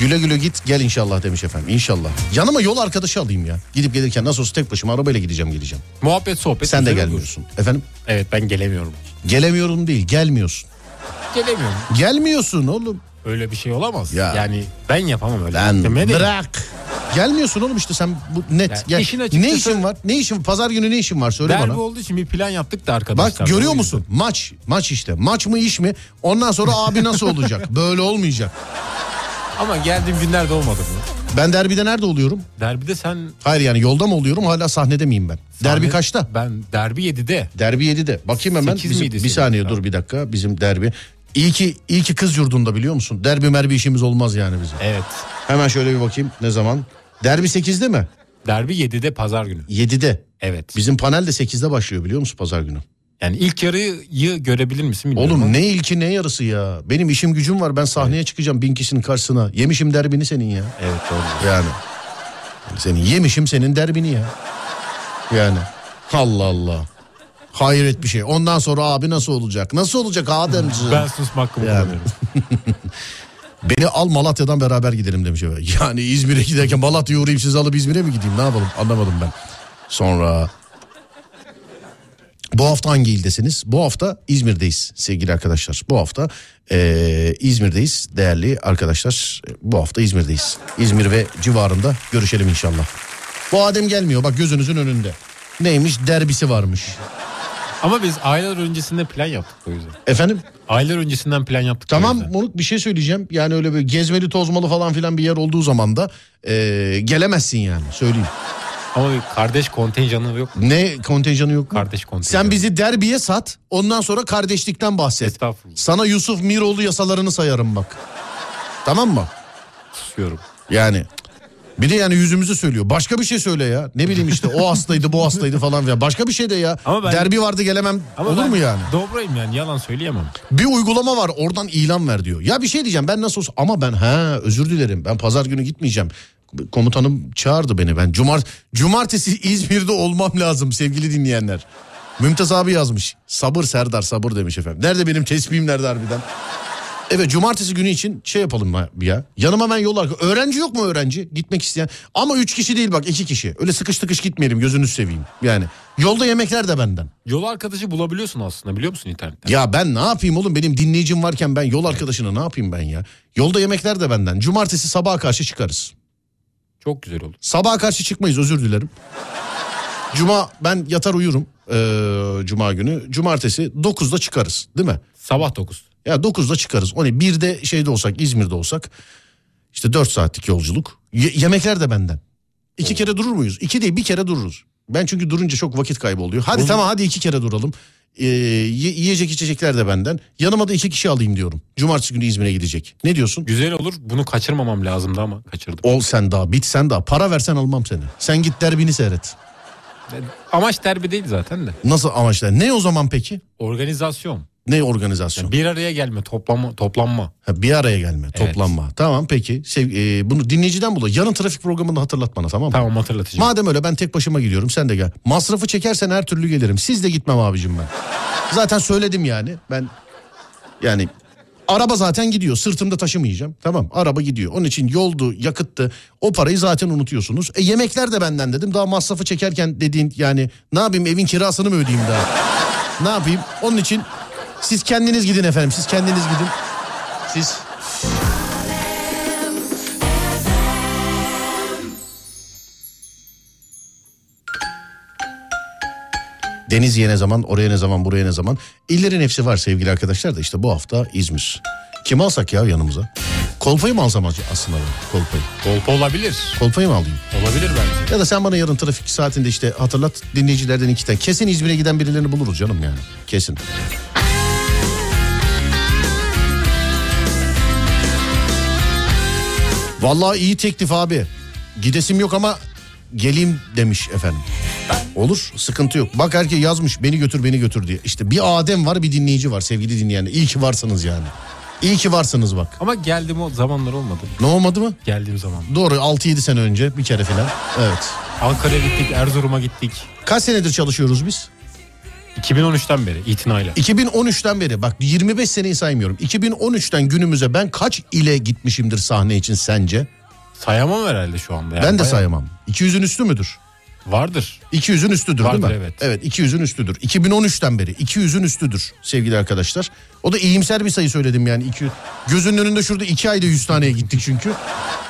Güle güle git gel inşallah demiş efendim inşallah. Yanıma yol arkadaşı alayım ya. Gidip gelirken nasıl olsa tek başıma arabayla gideceğim geleceğim. Muhabbet sohbet. Sen de güzel olur. gelmiyorsun efendim. Evet ben gelemiyorum. Gelemiyorum değil gelmiyorsun. Gelemiyorum. Gelmiyorsun oğlum. Öyle bir şey olamaz. Ya. Yani ben yapamam öyle. Lan Demedi. bırak. Gelmiyorsun oğlum işte sen bu net. Ya Gel. işin ne açıkçası- işin var? Ne işin? Pazar günü ne işin var? Söyle Derbi bana. olduğu için bir plan yaptık da Bak arkadaşlar. görüyor musun? Maç. Maç işte. Maç mı iş mi? Ondan sonra abi nasıl olacak? Böyle olmayacak. Ama geldiğim günlerde olmadı bu. Ben derbide nerede oluyorum? Derbide sen Hayır yani yolda mı oluyorum? Hala sahnede miyim ben? Derbi kaçta? ben derbi 7'de. Derbi 7'de. Bakayım hemen. Sekiz Bizim- miydi bir senin? saniye dur bir dakika. Bizim derbi. İyi ki, iyi ki kız yurdunda biliyor musun? Derbi merbi işimiz olmaz yani bizim. Evet. Hemen şöyle bir bakayım ne zaman? Derbi 8'de mi? Derbi 7'de pazar günü. 7'de. Evet. Bizim panel de 8'de başlıyor biliyor musun pazar günü? Yani ilk yarıyı görebilir misin bilmiyorum. Oğlum ama ne ilki ne yarısı ya. Benim işim gücüm var ben sahneye çıkacağım bin kişinin karşısına. Yemişim derbini senin ya. Evet doğru. Yani. Senin yemişim senin derbini ya. Yani Allah Allah. Hayret bir şey. Ondan sonra abi nasıl olacak? Nasıl olacak Ademciğim? Ben susmak yani. Beni al Malatya'dan beraber gidelim demiş efendim. Yani İzmir'e giderken Malatya'ya uğrayıp sizi alıp İzmir'e mi gideyim ne yapalım anlamadım ben. Sonra bu hafta hangi ildesiniz? Bu hafta İzmir'deyiz sevgili arkadaşlar. Bu hafta eee, İzmir'deyiz değerli arkadaşlar. Bu hafta İzmir'deyiz. İzmir ve civarında görüşelim inşallah. Bu Adem gelmiyor bak gözünüzün önünde. Neymiş derbisi varmış. Ama biz aylar öncesinde plan yaptık o yüzden. Efendim? Aylar öncesinden plan yaptık. Tamam Moruk bir şey söyleyeceğim. Yani öyle böyle gezmeli tozmalı falan filan bir yer olduğu zaman da eee, gelemezsin yani söyleyeyim. Ama bir kardeş kontenjanı yok. Ne kontenjanı yok mu? Kardeş kontenjanı. Sen bizi derbiye sat ondan sonra kardeşlikten bahset. Estağfurullah. Sana Yusuf Miroğlu yasalarını sayarım bak. Tamam mı? Susuyorum. Yani bir de yani yüzümüzü söylüyor. Başka bir şey söyle ya. Ne bileyim işte o hastaydı bu hastaydı falan filan. Başka bir şey de ya. Ama ben- Derbi vardı gelemem Ama olur ben mu yani? Dobrayım yani yalan söyleyemem. Bir uygulama var oradan ilan ver diyor. Ya bir şey diyeceğim ben nasıl olsa ama ben ha özür dilerim ben pazar günü gitmeyeceğim. Komutanım çağırdı beni ben cumart cumartesi İzmir'de olmam lazım sevgili dinleyenler. Mümtaz abi yazmış sabır Serdar sabır demiş efendim. Nerede benim tesbihim nerede harbiden? Evet cumartesi günü için şey yapalım mı ya. Yanıma ben yol arka. Öğrenci yok mu öğrenci? Gitmek isteyen. Ama üç kişi değil bak iki kişi. Öyle sıkış tıkış gitmeyelim gözünüz seveyim. Yani yolda yemekler de benden. Yol arkadaşı bulabiliyorsun aslında biliyor musun internet? Ya ben ne yapayım oğlum benim dinleyicim varken ben yol arkadaşına ne yapayım ben ya? Yolda yemekler de benden. Cumartesi sabaha karşı çıkarız. Çok güzel oldu. Sabaha karşı çıkmayız özür dilerim. Cuma ben yatar uyurum ee, cuma günü. Cumartesi 9'da çıkarız değil mi? Sabah 9. Ya 9'da çıkarız. O ne 1'de şeyde olsak İzmir'de olsak işte 4 saatlik yolculuk. Ye- yemekler de benden. İki kere durur muyuz? İki değil bir kere dururuz. Ben çünkü durunca çok vakit kaybı oluyor. Hadi Oğlum- tamam hadi iki kere duralım. Ee, ye- yiyecek içecekler de benden. Yanıma da iki kişi alayım diyorum. Cumartesi günü İzmir'e gidecek. Ne diyorsun? Güzel olur. Bunu kaçırmamam lazımdı ama kaçırdım. Ol sen daha bit sen daha. Para versen almam seni. Sen git derbini seyret. Amaç derbi değil zaten de. Nasıl amaçlar? Ne o zaman peki? Organizasyon. Ne organizasyon? Yani bir araya gelme, toplanma, toplanma. Ha, bir araya gelme, Evet. toplanma. Tamam peki. Sev- e, bunu dinleyiciden bul. Yarın trafik programında hatırlat bana tamam mı? Tamam hatırlatacağım. Madem öyle ben tek başıma gidiyorum sen de gel. Masrafı çekersen her türlü gelirim. Siz de gitmem abicim ben. Zaten söyledim yani. Ben yani araba zaten gidiyor. Sırtımda taşımayacağım. Tamam araba gidiyor. Onun için yoldu, yakıttı. O parayı zaten unutuyorsunuz. E yemekler de benden dedim. Daha masrafı çekerken dediğin yani ne yapayım evin kirasını mı ödeyeyim daha? ne yapayım? Onun için siz kendiniz gidin efendim. Siz kendiniz gidin. Siz Denizli'ye ne zaman, oraya ne zaman, buraya ne zaman. İllerin hepsi var sevgili arkadaşlar da işte bu hafta İzmir. Kim alsak ya yanımıza? Kolpayı mı alsam ac- aslında ben? Kolpayı. Kolpa olabilir. Kolpayı mı alayım? Olabilir bence. Ya da sen bana yarın trafik saatinde işte hatırlat dinleyicilerden iki tane. Kesin İzmir'e giden birilerini buluruz canım yani. Kesin. Vallahi iyi teklif abi. Gidesim yok ama geleyim demiş efendim. Olur sıkıntı yok. Bak erkeği yazmış beni götür beni götür diye. İşte bir Adem var bir dinleyici var sevgili dinleyenler. İyi ki varsınız yani. İyi ki varsınız bak. Ama geldiğim o zamanlar olmadı. Ne olmadı mı? Geldiğim zaman. Doğru 6-7 sene önce bir kere filan. Evet. Ankara'ya gittik, Erzurum'a gittik. Kaç senedir çalışıyoruz biz? 2013'ten beri itinayla. 2013'ten beri bak 25 seneyi saymıyorum. 2013'ten günümüze ben kaç ile gitmişimdir sahne için sence? Sayamam herhalde şu anda. yani. ben de Bayağı- sayamam. 200'ün üstü müdür? Vardır. 200'ün üstüdür Vardır, değil mi? evet. Evet 200'ün üstüdür. 2013'ten beri 200'ün üstüdür sevgili arkadaşlar. O da iyimser bir sayı söyledim yani. 200. Gözünün önünde şurada 2 ayda 100 taneye gittik çünkü.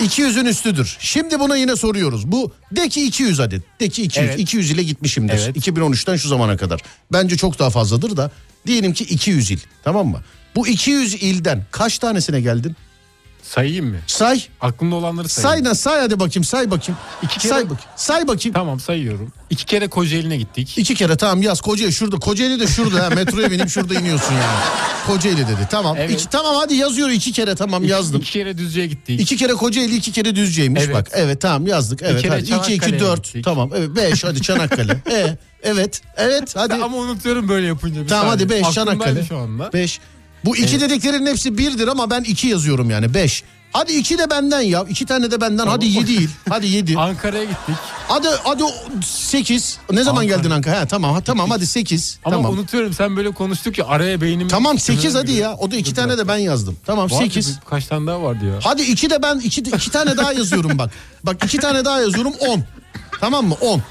200'ün üstüdür. Şimdi bunu yine soruyoruz. Bu de ki 200 adet. De ki 200. Evet. 200 ile gitmişimdir. Evet. 2013'ten şu zamana kadar. Bence çok daha fazladır da. Diyelim ki 200 il tamam mı? Bu 200 ilden kaç tanesine geldin? Sayayım mı? Say. Aklımda olanları sayayım. Say na say hadi bakayım say bakayım. İki kere- Say bakayım. Say bakayım. Tamam sayıyorum. İki kere Kocaeli'ne gittik. İki kere tamam yaz Kocaeli şurada. Kocaeli de şurada ha metroya binip şurada iniyorsun yani. Kocaeli dedi tamam. Evet. İki, tamam hadi yazıyor iki kere tamam yazdım. İki, iki kere Düzce'ye gittik. İki kere Kocaeli iki kere Düzce'ymiş Evet. bak. Evet tamam yazdık. Evet kere hadi. İki iki Çanakkale'ye dört gittik. tamam evet beş hadi Çanakkale. e, evet evet hadi. Tamam, Ama unutuyorum böyle yapınca. Bir hadi saniye. beş Aklımdaydı Çanakkale. şu anda. Beş. Bu iki Evet. dediklerin hepsi birdir ama ben iki yazıyorum yani beş. Hadi iki de benden ya. iki tane de benden. Hadi yedi il. Hadi yedi. Ankara'ya gittik. Hadi hadi o- sekiz. Ne zaman geldin Ankara? He, tamam ha, tamam hadi sekiz. Ama tamam. unutuyorum sen böyle konuştuk ya araya beynimi... Tamam sekiz hadi ya. O da iki tane de ben yazdım. Tamam Vardı sekiz. bir- Kaç tane daha vardı ya? Hadi iki de ben iki, iki tane daha yazıyorum bak. Bak iki tane daha yazıyorum on. Tamam mı? On.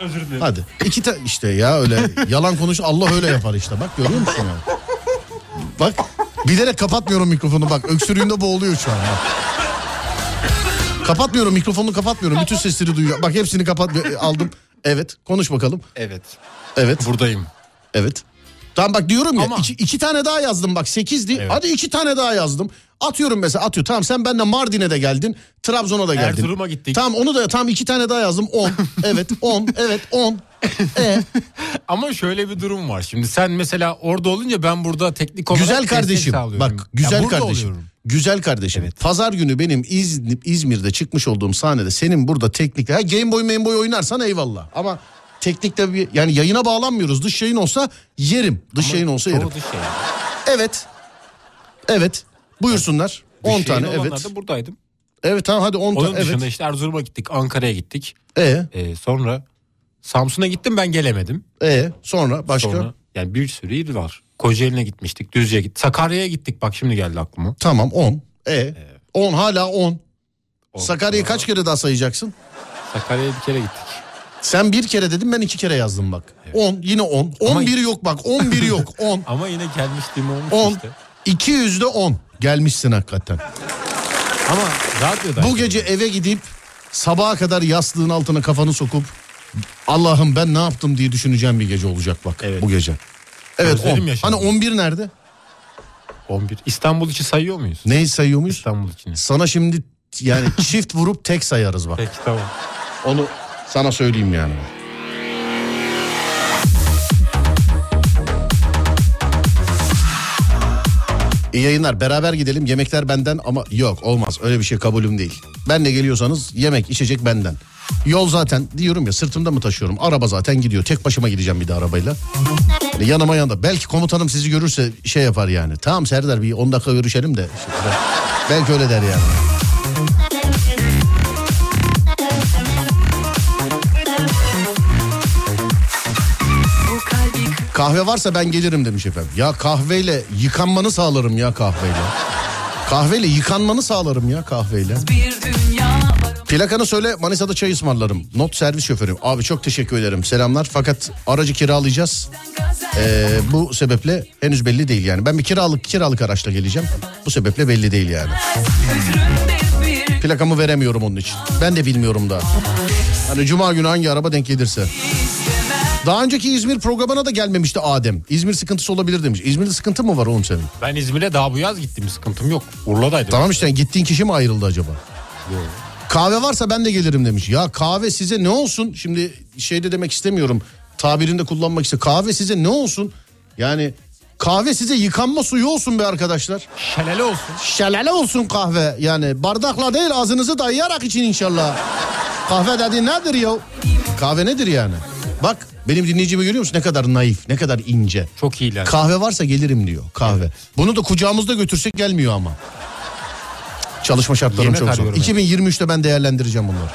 Özür dilerim. Hadi. İki ta işte ya öyle yalan konuş Allah öyle yapar işte. Bak görüyor musun ya? Bak bilerek kapatmıyorum mikrofonu bak. Öksürüğünde boğuluyor şu an. Bak. Kapatmıyorum mikrofonu kapatmıyorum. Bütün sesleri duyuyor. Bak hepsini kapat aldım. Evet konuş bakalım. Evet. Evet. Buradayım. Evet. Tamam bak diyorum ya iki, iki tane daha yazdım bak sekizdi. Hadi iki tane daha yazdım. Atıyorum mesela atıyor. Tamam sen benimle Mardin'e de geldin. Trabzon'a da geldin. Erzurum'a gittik. Tamam onu da tamam iki tane daha yazdım. On. evet on. Evet on. E, Ama şöyle bir durum var. Şimdi sen mesela orada olunca ben burada teknik olarak güzel destek kardeşim. sağlıyorum. Bak Ya güzel burada kardeşim. oluyorum. Güzel kardeşim. Pazar günü benim İz- İzmir'de çıkmış olduğum sahnede senin burada teknikle ha Game Boy Game Boy oynarsan eyvallah. Ama teknikte bir yani yayına bağlanmıyoruz. Dış yayın olsa yerim. Dış yayın olsa yerim. Doğru şey. Evet. Evet. Buyursunlar. 10 Dış yayın tane olanlar evet. da buradaydım. Evet tamam hadi 10 şey Onun tane. dışında Evet. işte Erzurum'a gittik, Ankara'ya gittik. Ee? Ee, sonra Samsun'a gittim ben gelemedim. Ee, sonra başka? yani bir sürü il var. Kocaeli'ne gitmiştik, Düzce'ye gittik. Sakarya'ya gittik bak şimdi geldi aklıma. Tamam 10. E 10 hala 10. Sakarya'yı kaç kere daha sayacaksın? Sakarya'ya bir kere gittik. Sen bir kere dedin ben iki kere yazdım bak. 10 yine 10. 11 yok bak 11 yok 10. Ama yine gelmiştim olmuş 10. işte. 200'de 10. Gelmişsin hakikaten. Ama radyoda. Bu gece eve gidip sabaha kadar yastığın altına kafanı sokup Allah'ım ben ne yaptım diye düşüneceğim bir gece olacak bak bu gece. Evet Özledim 10. yaşamı. Hani 11 nerede? 11. İstanbul için sayıyor muyuz? Neyi sayıyor muyuz? İstanbul için. Sana şimdi yani çift vurup tek sayarız bak. Peki tamam. Onu sana söyleyeyim yani. İyi yayınlar. Beraber gidelim. Yemekler benden ama yok olmaz. Öyle bir şey kabulüm değil. Benle geliyorsanız yemek, içecek benden. Yol zaten diyorum ya sırtımda mı taşıyorum? Araba zaten gidiyor. Tek başıma gideceğim bir de arabayla. Yani yanıma yanında. Belki komutanım sizi görürse şey yapar yani. Tamam Serdar bir 10 dakika görüşelim de. Belki öyle der yani. Kahve varsa ben gelirim demiş efendim. Ya kahveyle yıkanmanı sağlarım ya kahveyle. Kahveyle yıkanmanı sağlarım ya kahveyle. Bir dünya Plakanı söyle Manisa'da çay ısmarlarım. Not servis şoförüm. Abi çok teşekkür ederim. Selamlar fakat aracı kiralayacağız. Ee, bu sebeple henüz belli değil yani. Ben bir kiralık kiralık araçla geleceğim. Bu sebeple belli değil yani. Plakamı veremiyorum onun için. Ben de bilmiyorum daha. Hani cuma günü hangi araba denk gelirse. Daha önceki İzmir programına da gelmemişti Adem. İzmir sıkıntısı olabilir demiş. İzmir'de sıkıntı mı var oğlum senin? Ben İzmir'e daha bu yaz gittim sıkıntım yok. Urla'daydım. Tamam işte gittiğin kişi mi ayrıldı acaba? Kahve varsa ben de gelirim demiş. Ya kahve size ne olsun? Şimdi şeyde demek istemiyorum. Tabirinde kullanmak işte. Kahve size ne olsun? Yani kahve size yıkanma suyu olsun be arkadaşlar. Şelale olsun. Şelale olsun kahve. Yani bardakla değil ağzınızı dayayarak için inşallah. kahve dediğin nedir ya? Kahve nedir yani? Bak benim dinleyicimi görüyor musun? Ne kadar naif, ne kadar ince. Çok iyiler. Kahve varsa gelirim diyor kahve. Bunu da kucağımızda götürsek gelmiyor ama. Çalışma şartlarım Yemek çok zor. arıyorum 2023'te ben değerlendireceğim bunları.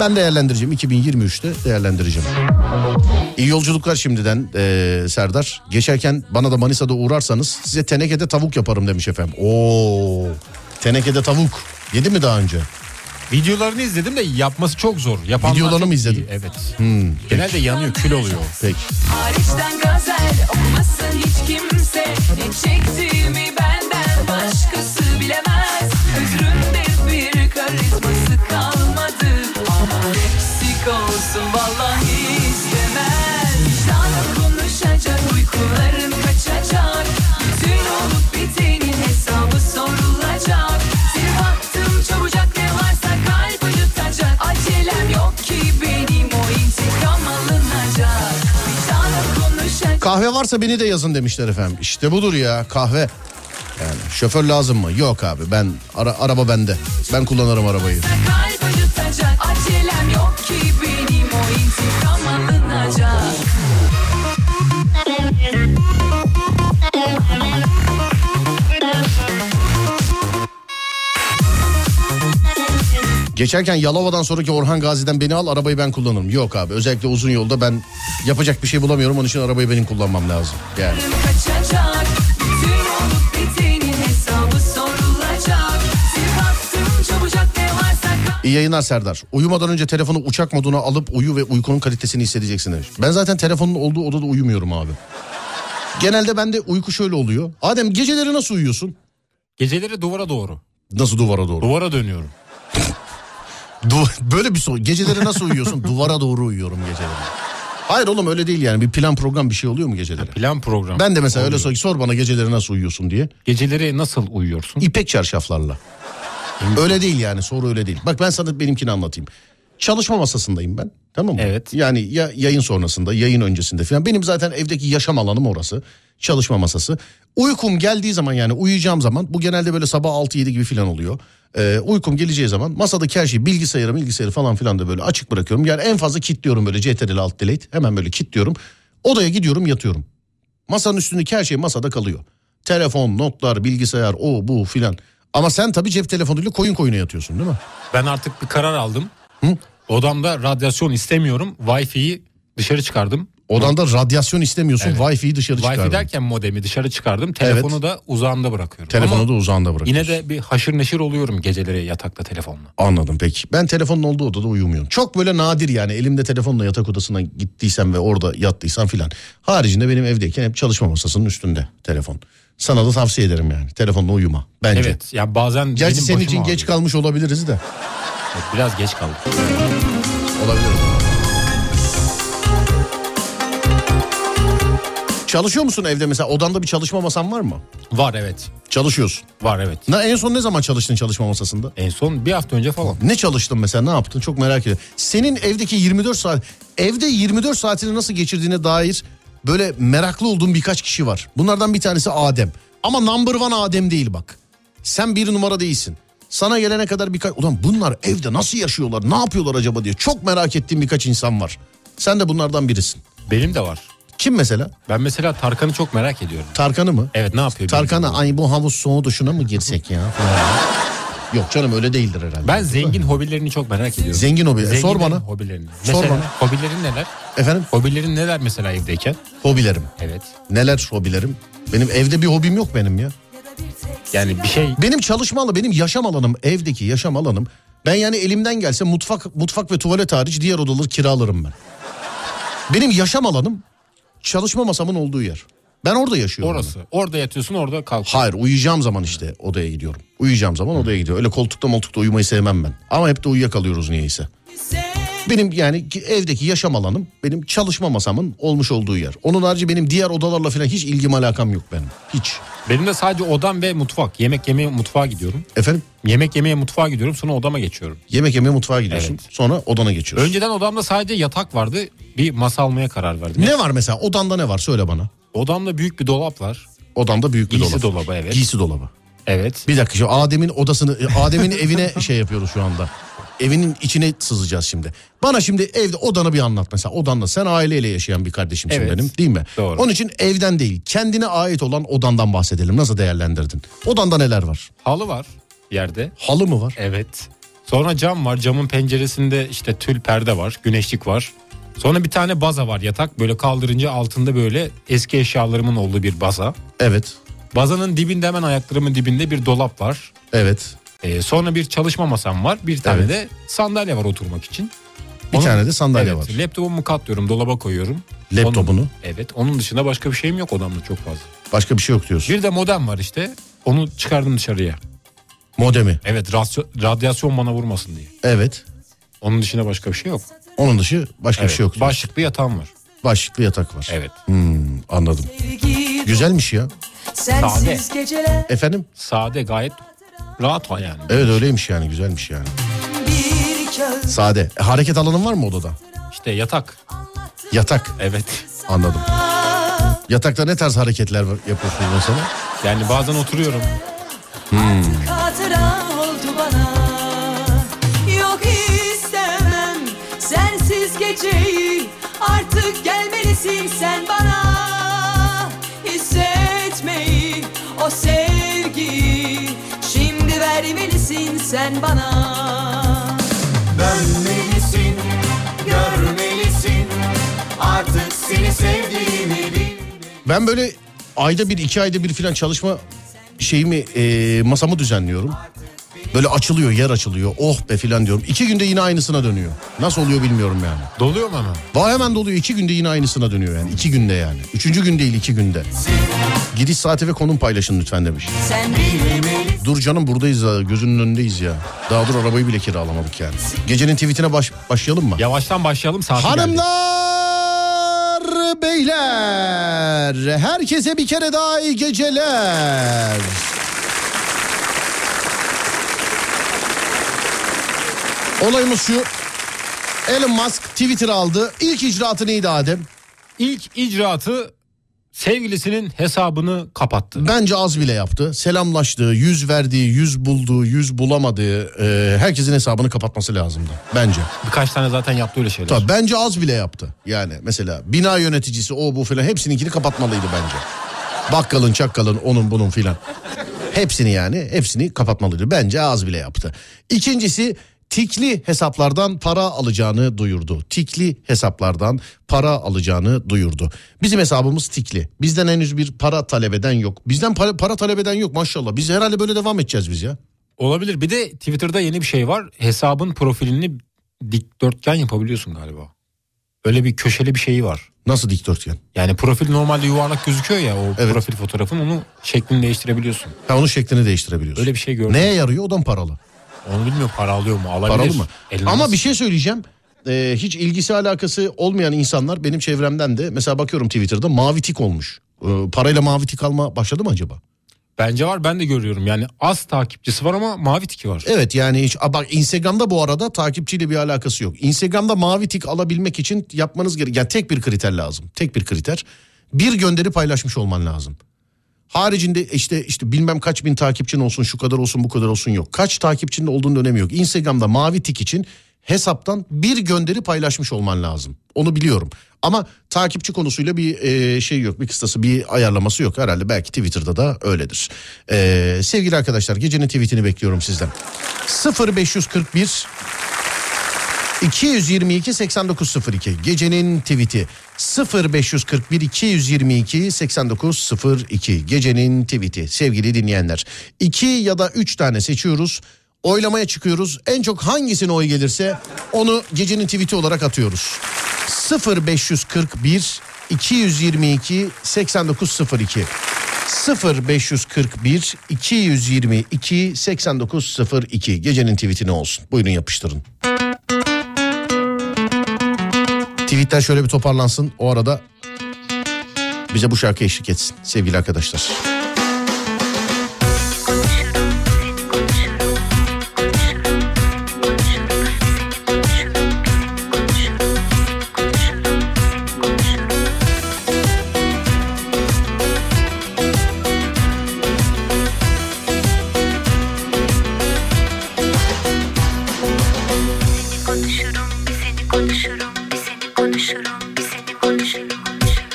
Ben değerlendireceğim. 2023'te değerlendireceğim. İyi yolculuklar şimdiden eee, Serdar. Geçerken bana da Manisa'da uğrarsanız size tenekede tavuk yaparım demiş efendim. Oo, tenekede tavuk. Yedi mi daha önce? Videolarını izledim de yapması çok zor. Yapanlar Videolarını çok mı izledin? iyi, Evet. Hmm, Genelde yanıyor kül oluyor. Peki. hariçten gazel okumasın hiç kimse Ne çektiğimi benden başkası bilemez Özründe bir karizması kalmadı Ama eksik olsun vallahi istemez Vicdanım konuşacak uykularım kaçacak Bütün olup bitenin hesabı sorulacak Bir baktım çabucak ne varsa kalbi yutacak Acelem yok ki benim o intikam alınacak Kahve varsa beni de yazın demişler efendim. İşte budur ya kahve. Yani şoför lazım mı? Yok abi ben ara- araba bende. Ben kullanırım arabayı. Kalbi yutacak Acelem yok ki benim o intikam alınacak Geçerken Yalova'dan sonraki Orhan Gazi'den beni al arabayı ben kullanırım. Yok abi özellikle uzun yolda ben yapacak bir şey bulamıyorum. Onun için arabayı benim kullanmam lazım. Yani. kaçacak Bütün olup bitenin hesabı sorulacak Sil attım çabucak ne varsa İyi yayınlar Serdar. Uyumadan önce telefonu uçak moduna alıp uyu ve uykunun kalitesini hissedeceksin demiş. Ben zaten telefonun olduğu odada uyumuyorum abi. Genelde bende uyku şöyle oluyor. Adem geceleri nasıl uyuyorsun? Geceleri duvara doğru. Nasıl duvara doğru? Duvara dönüyorum. Du- Böyle bir soru. Geceleri nasıl uyuyorsun? Duvara doğru uyuyorum geceleri. Hayır oğlum öyle değil yani. Bir plan program bir şey oluyor mu geceleri? Plan program. Ben de mesela öyle sor, sor bana geceleri nasıl uyuyorsun diye. Geceleri nasıl uyuyorsun? İpek çarşaflarla. öyle değil yani soru öyle değil. Bak ben sana benimkini anlatayım. Çalışma masasındayım ben. Tamam mı? Evet. Yani ya yayın sonrasında, yayın öncesinde falan. Benim zaten evdeki yaşam alanım orası. Çalışma masası. Uykum geldiği zaman yani uyuyacağım zaman bu genelde böyle sabah 6-7 gibi falan oluyor. Ee, uykum geleceği zaman masadaki her şeyi bilgisayarı bilgisayarı falan filan da böyle açık bırakıyorum. Yani en fazla kilitliyorum böyle CTRL alt delete hemen böyle kilitliyorum. Odaya gidiyorum yatıyorum. Masanın üstündeki her şey masada kalıyor. Telefon, notlar, bilgisayar, o bu filan. Ama sen tabii cep telefonuyla koyun koyuna yatıyorsun değil mi? Ben artık bir karar aldım. Odamda radyasyon istemiyorum. Wi-Fi'yi dışarı çıkardım. Odanda radyasyon istemiyorsun. Wi-Fi'yi dışarı çıkardın. Wi-Fi derken modemi dışarı çıkardım. Telefonu da uzağımda bırakıyorum. Telefonu Ama da uzağında bırak. Yine de bir haşır neşir oluyorum geceleri yatakta telefonla. Anladım peki. Ben telefonun olduğu odada uyumuyorum. Çok böyle nadir yani elimde telefonla yatak odasına gittiysem ve orada yattıysam filan. Haricinde benim evdeyken hep çalışma masasının üstünde telefon. Sana da tavsiye ederim yani. Telefonla uyuma. Bence. Evet. Ya bazen Gerçi benim senin başım için geç kalmış olabiliriz de. Biraz geç kaldım. Olabilir. Çalışıyor musun evde mesela? Odanda bir çalışma masan var mı? Var evet. Çalışıyorsun. Var evet. Na, en son ne zaman çalıştın çalışma masasında? En son bir hafta önce falan. Ne çalıştın mesela ne yaptın çok merak ediyorum. Senin evdeki 24 saat evde 24 saatini nasıl geçirdiğine dair böyle meraklı olduğum birkaç kişi var. Bunlardan bir tanesi Adem. Ama number one Adem değil bak. Sen bir numara değilsin. Sana gelene kadar birkaç... Ulan bunlar evde nasıl yaşıyorlar ne yapıyorlar acaba diye çok merak ettiğim birkaç insan var. Sen de bunlardan birisin. Benim de var. Kim mesela? Ben mesela Tarkan'ı çok merak ediyorum. Tarkan'ı mı? Evet ne yapıyor? Tarkan'a ay bu havuz soğuğu duşuna mı girsek ya? falan. Yok canım öyle değildir herhalde. Ben zengin hobilerini çok merak ediyorum. Zengin hobi- Zenginlerin sor bana. Hobilerini. Sor Mesela bana. Hobilerin neler? Efendim? Hobilerin neler mesela evdeyken? Hobilerim. Evet. Neler hobilerim? Benim evde bir hobim yok benim ya. Yani bir şey Benim çalışma alanım, benim yaşam alanım, evdeki yaşam alanım. Ben yani elimden gelse mutfak mutfak ve tuvalet hariç diğer odaları kiralarım ben. Benim yaşam alanım çalışma masamın olduğu yer. Ben orada yaşıyorum. orası. Orada yatıyorsun orada kalkıyorsun. Hayır uyuyacağım zaman işte odaya gidiyorum. Uyuyacağım zaman odaya gidiyorum. Öyle koltukta moltukta uyumayı sevmem ben. Ama hep de uyuyakalıyoruz niyeyse. Benim yani ki- evdeki yaşam alanım benim çalışma masamın olmuş olduğu yer. Onun harici benim diğer odalarla falan hiç ilgim alakam yok benim. Hiç. Benim de sadece odam ve mutfak. Yemek yemeye mutfağa gidiyorum. Efendim? Yemek yemeye mutfağa gidiyorum sonra odama geçiyorum. Yemek yemeye mutfağa gidiyorsun. Sonra odana geçiyorsun. Önceden odamda sadece yatak vardı. Bir masa almaya karar verdim. Ne var mesela? Odanda ne var? Söyle bana. Odamda büyük bir dolap var. Odamda büyük bir Giysi dolap. dolabı evet. Giysi dolabı. Evet. Bir dakika şu Adem'in odasını, e, Adem'in evine şey yapıyoruz şu anda. Evinin içine sızacağız şimdi. Bana şimdi evde odanı bir anlat mesela. Odanla sen aileyle yaşayan bir kardeşimsin Evet. benim değil mi? Doğru. Onun için evden değil kendine ait olan odandan bahsedelim. Nasıl değerlendirdin? Odanda neler var? Halı var yerde. Halı mı var? Evet. Sonra cam var. Camın penceresinde işte tül perde var. Güneşlik var. Sonra bir tane baza var yatak. Böyle kaldırınca altında böyle eski eşyalarımın olduğu bir baza. Evet. Bazanın dibinde hemen ayaklarımın dibinde bir dolap var. Evet. Ee, sonra bir çalışma masam var. Bir tane Evet. de sandalye var oturmak için. Bir Onun- tane de sandalye Evet, var. Laptopumu katlıyorum, dolaba koyuyorum. Laptopunu. Onun- evet, onun dışında başka bir şeyim yok odamda çok fazla. Başka bir şey yok diyorsun. Bir de modem var işte. Onu çıkardım dışarıya. Modemi. Evet, rasyo- radyasyon bana vurmasın diye. Evet. Onun dışında başka bir şey yok. Onun dışı başka Evet, bir şey yok. diyorsun. Başlıklı yatağım var. Başlıklı yatak var. Evet. Hmm, anladım. Güzelmiş ya. Sade. geceler Efendim? Sade gayet rahat ha yani. Evet öyleymiş yani güzelmiş yani. bir kağıt Sade. E, hareket alanın var mı odada? İşte yatak. Yatak. Evet. Anladım. Yatakta ne tarz hareketler var- yapıyorsunuz mesela? Yani bazen oturuyorum. hatıra oldu bana Yok istemem sensiz geceyi Artık gelmelisin sen bana Hissetmeyi o sevgiyi Şimdi vermelisin sen bana Seni sevdiğimi bil Ben böyle ayda bir iki ayda bir filan çalışma şeyimi e, masamı düzenliyorum. Böyle açılıyor yer açılıyor oh be filan diyorum. İki günde yine aynısına dönüyor. Nasıl oluyor bilmiyorum yani. Doluyor mu hemen? Var hemen doluyor iki günde yine aynısına dönüyor yani. iki günde yani. Üçüncü gün değil iki günde. Giriş saati ve konum paylaşın lütfen demiş. Sen bilmemelisin Dur canım buradayız ha, gözünün önündeyiz ya. Daha dur arabayı bile kiralamadık yani. Gecenin tweetine baş- başlayalım mı? Yavaştan başlayalım saati geldi. Hanımlar, beyler, herkese bir kere daha iyi geceler. Olayımız şu. Elon Musk Twitter aldı. İlk icraatı neydi Adem? İlk icraatı sevgilisinin hesabını kapattı. Bence az bile yaptı. Selamlaştığı, yüz verdiği, yüz bulduğu, yüz bulamadığı e, herkesin hesabını kapatması lazımdı. Bence. Birkaç tane zaten yaptı öyle şeyler. Tabii bence az bile yaptı. Yani mesela bina yöneticisi o bu filan hepsininkini kapatmalıydı bence. Bakkalın çakkalın onun bunun filan. Hepsini yani hepsini kapatmalıydı. Bence az bile yaptı. İkincisi tikli hesaplardan para alacağını duyurdu. Tikli hesaplardan para alacağını duyurdu. Bizim hesabımız tikli. Bizden henüz bir para talep eden yok. Bizden para, para talep eden yok maşallah. Biz herhalde böyle devam edeceğiz biz ya. Olabilir. Bir de Twitter'da yeni bir şey var. Hesabın profilini dikdörtgen yapabiliyorsun galiba. Öyle bir köşeli bir şeyi var. Nasıl dikdörtgen? Yani profil normalde yuvarlak gözüküyor ya o Evet. profil fotoğrafın onu şeklini değiştirebiliyorsun. Ha onun şeklini değiştirebiliyorsun. Öyle bir şey gördüm. Neye yarıyor o da mı paralı? Onu bilmiyorum para alıyor mu alabilir. Paralı mı? Elinde Ama nasıl- bir şey söyleyeceğim. Ee, hiç ilgisi alakası olmayan insanlar benim çevremden de mesela bakıyorum Twitter'da mavi tik olmuş. Ee, parayla mavi tik alma başladı mı acaba? Bence var ben de görüyorum yani az takipçisi var ama mavi tiki var. Evet yani hiç a, bak Instagram'da bu arada takipçiyle bir alakası yok. Instagram'da mavi tik alabilmek için yapmanız gereken yani tek bir kriter lazım. Tek bir kriter. Bir gönderi paylaşmış olman lazım. Haricinde işte işte bilmem kaç bin takipçin olsun şu kadar olsun bu kadar olsun yok. Kaç takipçinin olduğunun önemi yok. Instagram'da mavi tik için hesaptan bir gönderi paylaşmış olman lazım. Onu biliyorum. Ama takipçi konusuyla bir e, şey yok bir kıstası bir ayarlaması yok. Herhalde belki Twitter'da da öyledir. E, sevgili arkadaşlar gecenin tweetini bekliyorum sizden. 0541 222 8902 gecenin tweet'i 0541 222 8902 gecenin tweet'i sevgili dinleyenler 2 ya da 3 tane seçiyoruz oylamaya çıkıyoruz en çok hangisine oy gelirse onu gecenin tweet'i olarak atıyoruz 0541 222 8902 0541 222 8902 gecenin tweet'ini olsun buyurun yapıştırın Tweetler şöyle bir toparlansın. O arada bize bu şarkı eşlik etsin sevgili arkadaşlar.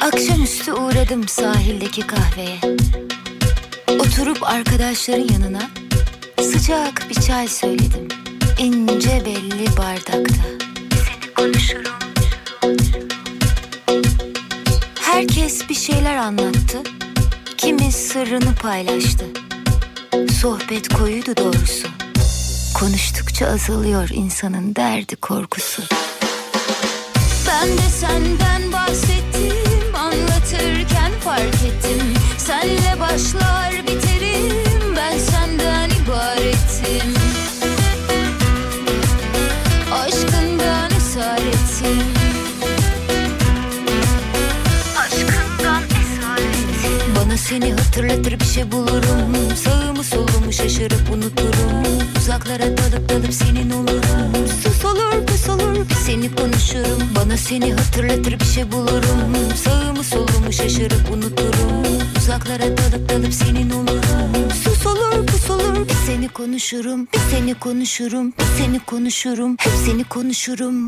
Akşamüstü uğradım sahildeki kahveye. Oturup arkadaşların yanına sıcak bir çay söyledim. İnce belli bardakta. Herkes bir şeyler anlattı. Kimi sırrını paylaştı. Sohbet koyuydu doğrusu. Konuştukça azalıyor insanın derdi korkusu. Ben de senden bahsettim anlatırken fark ettim Senle başlar biterim ben senden ibarettim Aşkından esaretim Aşkından esaretim Bana seni hatırlatır bir şey bulurum Sağımı solumu şaşırıp unuturum Uzaklara dalıp dalıp senin olurum Sus olur pus olur bir seni konuşurum Bana seni hatırlatır bir şey bulurum Sağımı solumu şaşırıp unuturum Uzaklara dalıp dalıp senin olurum Sus olur pus olur bir seni konuşurum Bir seni konuşurum bir seni konuşurum Hep seni konuşurum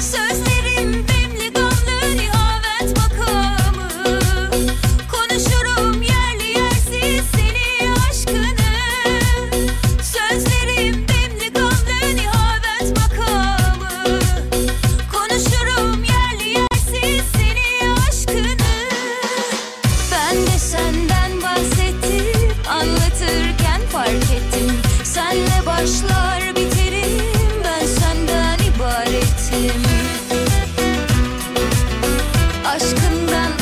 Sözlerim demli gamlı nihavet makamı Konuşurum yerli yersiz seni aşkını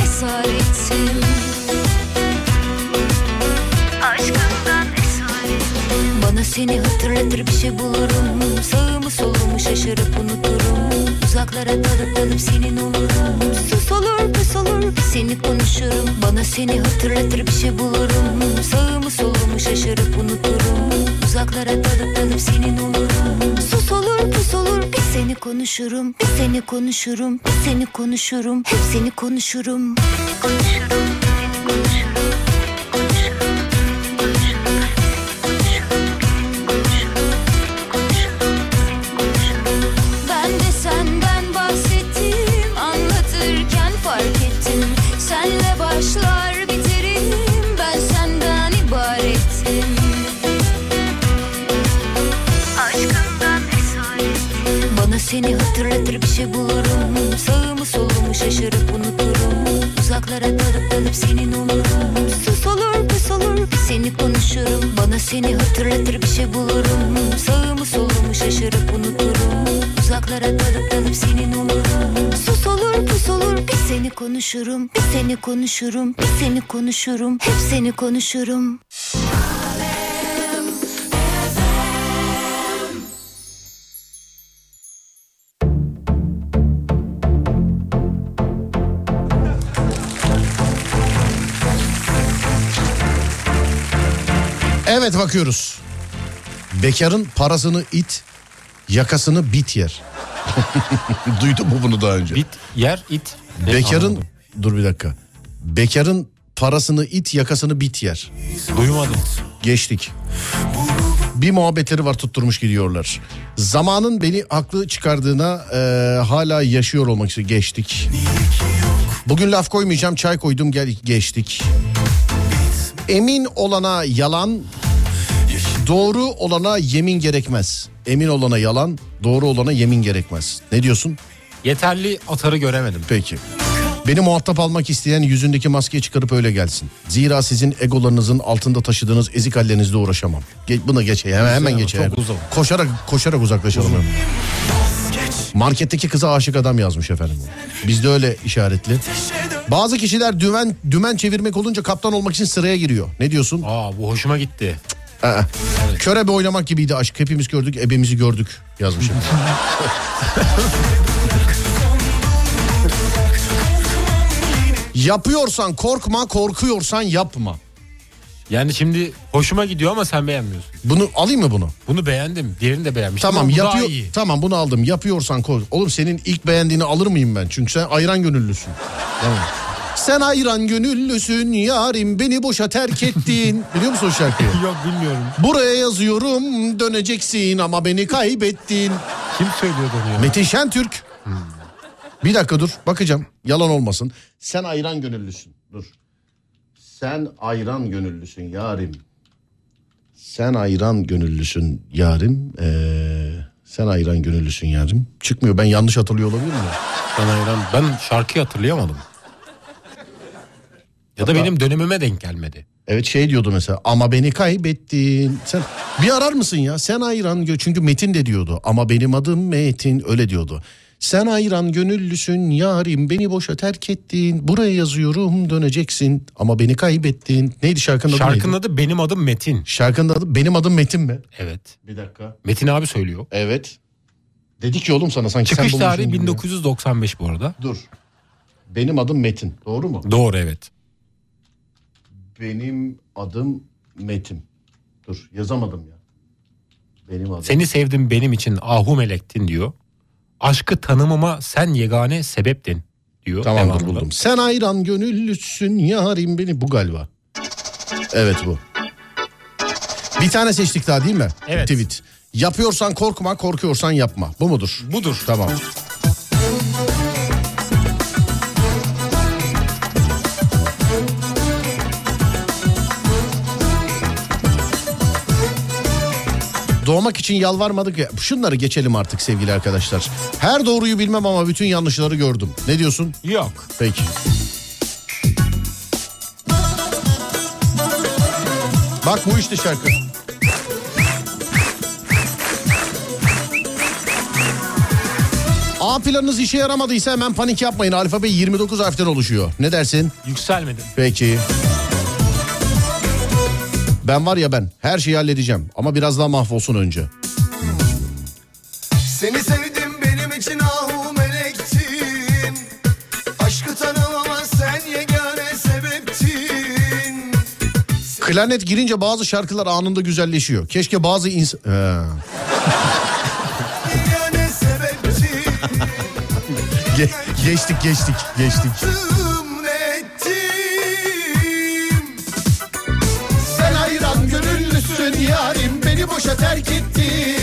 esaretim Aşkından esaretim Bana seni hatırlatır bir şey bulurum Sağımı solumu şaşırıp unuturum Uzaklara dalıp dalıp senin olurum Sus olur pus olur seni konuşurum Bana seni hatırlatır bir şey bulurum Sağımı solumu şaşırıp unuturum Uzaklara dalıp dalıp senin olurum Sus olur pus olur bir seni konuşurum Bir seni konuşurum bir seni konuşurum Hep seni konuşurum Konuşurum Ben de senden bahsettim anlatırken fark ettim Senle başlar biterim ben senden ibarettim Aşkından esaretim Bana seni hatırlatır bir şey bulurum Sağımı solumu şaşırıp unuturum Uzaklara dalıp dalıp senin olurum Sus olur pus olur seni konuşurum Bana seni hatırlatır bir şey bulurum Sağımı solumu şaşırıp unuturum Uzaklara dalıp dalıp senin olurum Sus olur pus olur bir seni konuşurum Bir seni konuşurum bir seni konuşurum Hep seni konuşurum Evet bakıyoruz. Bekarın parasını it, yakasını bit yer. Duydun mu bunu daha önce? Bit yer, it. Ne? Bekarın, Anladım. dur bir dakika. Bekarın parasını it, yakasını bit yer. Duymadım. Geçtik. Bir muhabbetleri var tutturmuş gidiyorlar. Zamanın beni haklı çıkardığına e, hala yaşıyor olmak için geçtik. Bugün laf koymayacağım çay koydum gel geçtik. Emin olana yalan, doğru olana yemin gerekmez. Emin olana yalan, doğru olana yemin gerekmez. Ne diyorsun? Yeterli atarı göremedim. Peki. Beni muhatap almak isteyen yüzündeki maskeyi çıkarıp öyle gelsin. Zira sizin egolarınızın altında taşıdığınız ezik hallerinizle uğraşamam. Ge- buna geç hemen, hemen geç. Çok uzun. Koşarak koşarak uzaklaşalım. hemen. Marketteki kıza aşık adam yazmış efendim. Bizde öyle işaretli. Bazı kişiler dümen dümen çevirmek olunca kaptan olmak için sıraya giriyor. Ne diyorsun? Aa bu hoşuma gitti. Körebe oynamak gibiydi aşk. Hepimiz gördük, ebemizi gördük yazmış. efendim. Yapıyorsan korkma, korkuyorsan yapma. Yani şimdi hoşuma gidiyor ama sen beğenmiyorsun. Bunu alayım mı bunu? Bunu beğendim. Diğerini de beğenmiştim. Tamam ama bu yapıyor. Daha iyi. Tamam bunu aldım. Yapıyorsan kork. Oğlum senin ilk beğendiğini alır mıyım ben? Çünkü sen ayran gönüllüsün. Tamam. Sen ayran gönüllüsün yarim beni boşa terk ettin. Biliyor musun o şarkıyı? Yok bilmiyorum. Buraya yazıyorum döneceksin ama beni kaybettin. Kim söylüyor onu ya? Metin Şentürk. Bir dakika dur bakacağım yalan olmasın. Sen ayran gönüllüsün dur. Sen ayran gönüllüsün yarim. Sen ayran gönüllüsün yarim. Ee, sen ayran gönüllüsün yarim. Çıkmıyor ben yanlış hatırlıyor olabilir mi? Ben hayran. Ben şarkıyı hatırlayamadım. Ya da benim dönemime denk gelmedi. Evet şey diyordu mesela ama beni kaybettin. Sen bir arar mısın ya? Sen ayran gö çünkü Metin de diyordu ama benim adım Metin öyle diyordu. Sen ayran gönüllüsün yarim beni boşa terk ettin. Buraya yazıyorum döneceksin ama beni kaybettin. Neydi şarkının adı? Şarkının neydi? adı Benim Adım Metin. Şarkının adı benim adım Metin mi? Evet. Bir dakika. Metin abi söylüyor. Evet. Dedik ya oğlum sana sanki Çıkış sen tarihi bulmuşsun gibi. 1995 bu arada. Dur. Benim adım Metin. Doğru mu? Doğru evet. Benim adım Metin. Dur yazamadım ya. Benim adım. Seni sevdim benim için ahu melektin diyor. Aşkı tanımama sen yegane sebeptin diyor. Tamamdır Devamında. buldum. Sen ayran gönüllüsün yarim beni. Bu galiba. Evet bu. Bir tane seçtik daha değil mi? Evet. Tweet. Yapıyorsan korkma, korkuyorsan yapma. Bu mudur? Budur. Tamam. Doğmak için yalvarmadık ya. Şunları geçelim artık sevgili arkadaşlar. Her doğruyu bilmem ama bütün yanlışları gördüm. Ne diyorsun? Yok. Peki. Bak bu işte şarkı. A planınız işe yaramadıysa hemen panik yapmayın. Alfabe 29 harften oluşuyor. Ne dersin? Yükselmedim. Peki. Ben var ya ben her şeyi halledeceğim ama biraz daha mahvolsun önce. Seni sevdim benim için ahu melektin Aşkı tanımama sen yegane sebeptin Klarnet girince bazı şarkılar anında güzelleşiyor. Keşke bazı Ee, insan... Yegane sebeptin geçtik geçtik geçtik. Tüm ne ettim Sen hayran gönüllüsün yarim Beni boşa terk ettin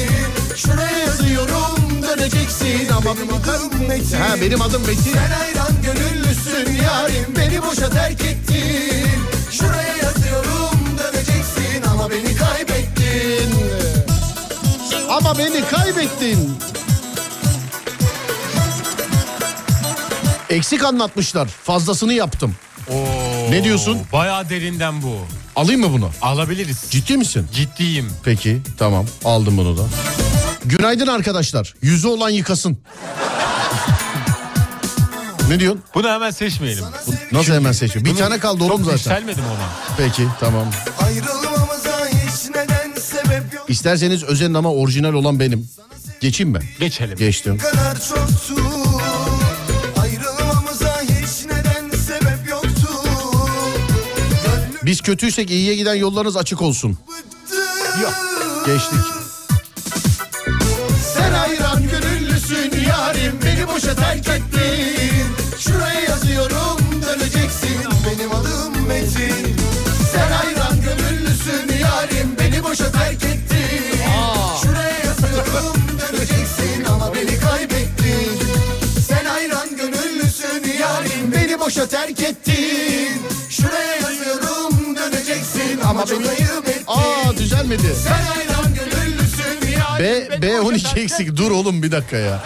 Şuraya yazıyorum döneceksin Ama benim adım Metin Ha, benim adım Metin. Sen hayran gönüllüsün yarim Beni boşa terk ettin Şuraya yazıyorum döneceksin Ama beni kaybettin Ama beni kaybettin. Eksik anlatmışlar. Fazlasını yaptım. Ne diyorsun? Bayağı derinden bu. Alayım mı bunu? Alabiliriz. Ciddi misin? Ciddiyim. Peki tamam aldım bunu da. Günaydın arkadaşlar. Yüzü olan yıkasın. ne diyorsun? Bunu hemen seçmeyelim. Nasıl hemen seçiyor? Bir tane kaldı oğlum zaten. Yükselmedim ona. Peki tamam. Ayrılmamıza hiç neden sebep yok İsterseniz özenin ama orijinal olan benim. Geçeyim mi? Geçelim. Geçtim. kadar çoktu Ayrılmamıza hiç neden sebep yoktu Biz kötüysek iyiye giden yollarınız açık olsun. Yok. Geçtik. Sen hayran gönüllüsün yarim Beni boşa terk ettin Şuraya yazıyorum döneceksin Benim adım Metin Sen hayran gönüllüsün yarim Beni boşa terk ettin Şuraya yazıyorum döneceksin Ama beni kaybettin Sen hayran gönüllüsün yarim Beni boşa terk ettin Şuraya yazıyorum döneceksin Ama beni kaybettin Aa düzelmedi. Sen hayran gönüllüsün yarim B, B12 eksik. Dur oğlum bir dakika ya.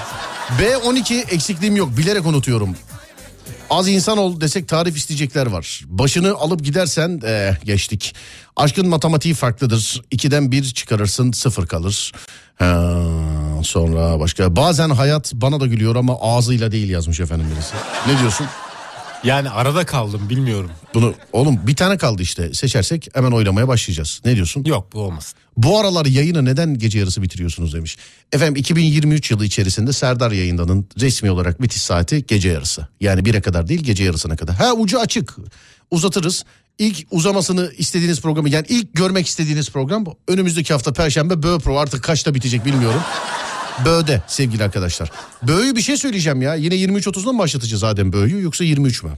B12 eksikliğim yok. Bilerek unutuyorum. Az insan ol desek tarif isteyecekler var. Başını alıp gidersen eh, geçtik. Aşkın matematiği farklıdır. İkiden bir çıkarırsın sıfır kalır. Ha, sonra başka. Bazen hayat bana da gülüyor ama ağzıyla değil yazmış efendim birisi. Ne diyorsun? Yani arada kaldım bilmiyorum. Bunu oğlum bir tane kaldı işte. Seçersek hemen oylamaya başlayacağız. Ne diyorsun? Yok bu olmasın. Bu aralar yayını neden gece yarısı bitiriyorsunuz demiş. Efendim 2023 yılı içerisinde Serdar yayındanın resmi olarak bitiş saati gece yarısı. Yani 1'e kadar değil gece yarısına kadar. Ha ucu açık uzatırız. İlk uzamasını istediğiniz programı yani ilk görmek istediğiniz program bu. önümüzdeki hafta Perşembe Bö Pro artık kaçta bitecek bilmiyorum. Bö'de sevgili arkadaşlar. Bö'yü bir şey söyleyeceğim ya. Yine 23.30'da mı başlatacağız Adem Bö'yü yoksa 23 mü?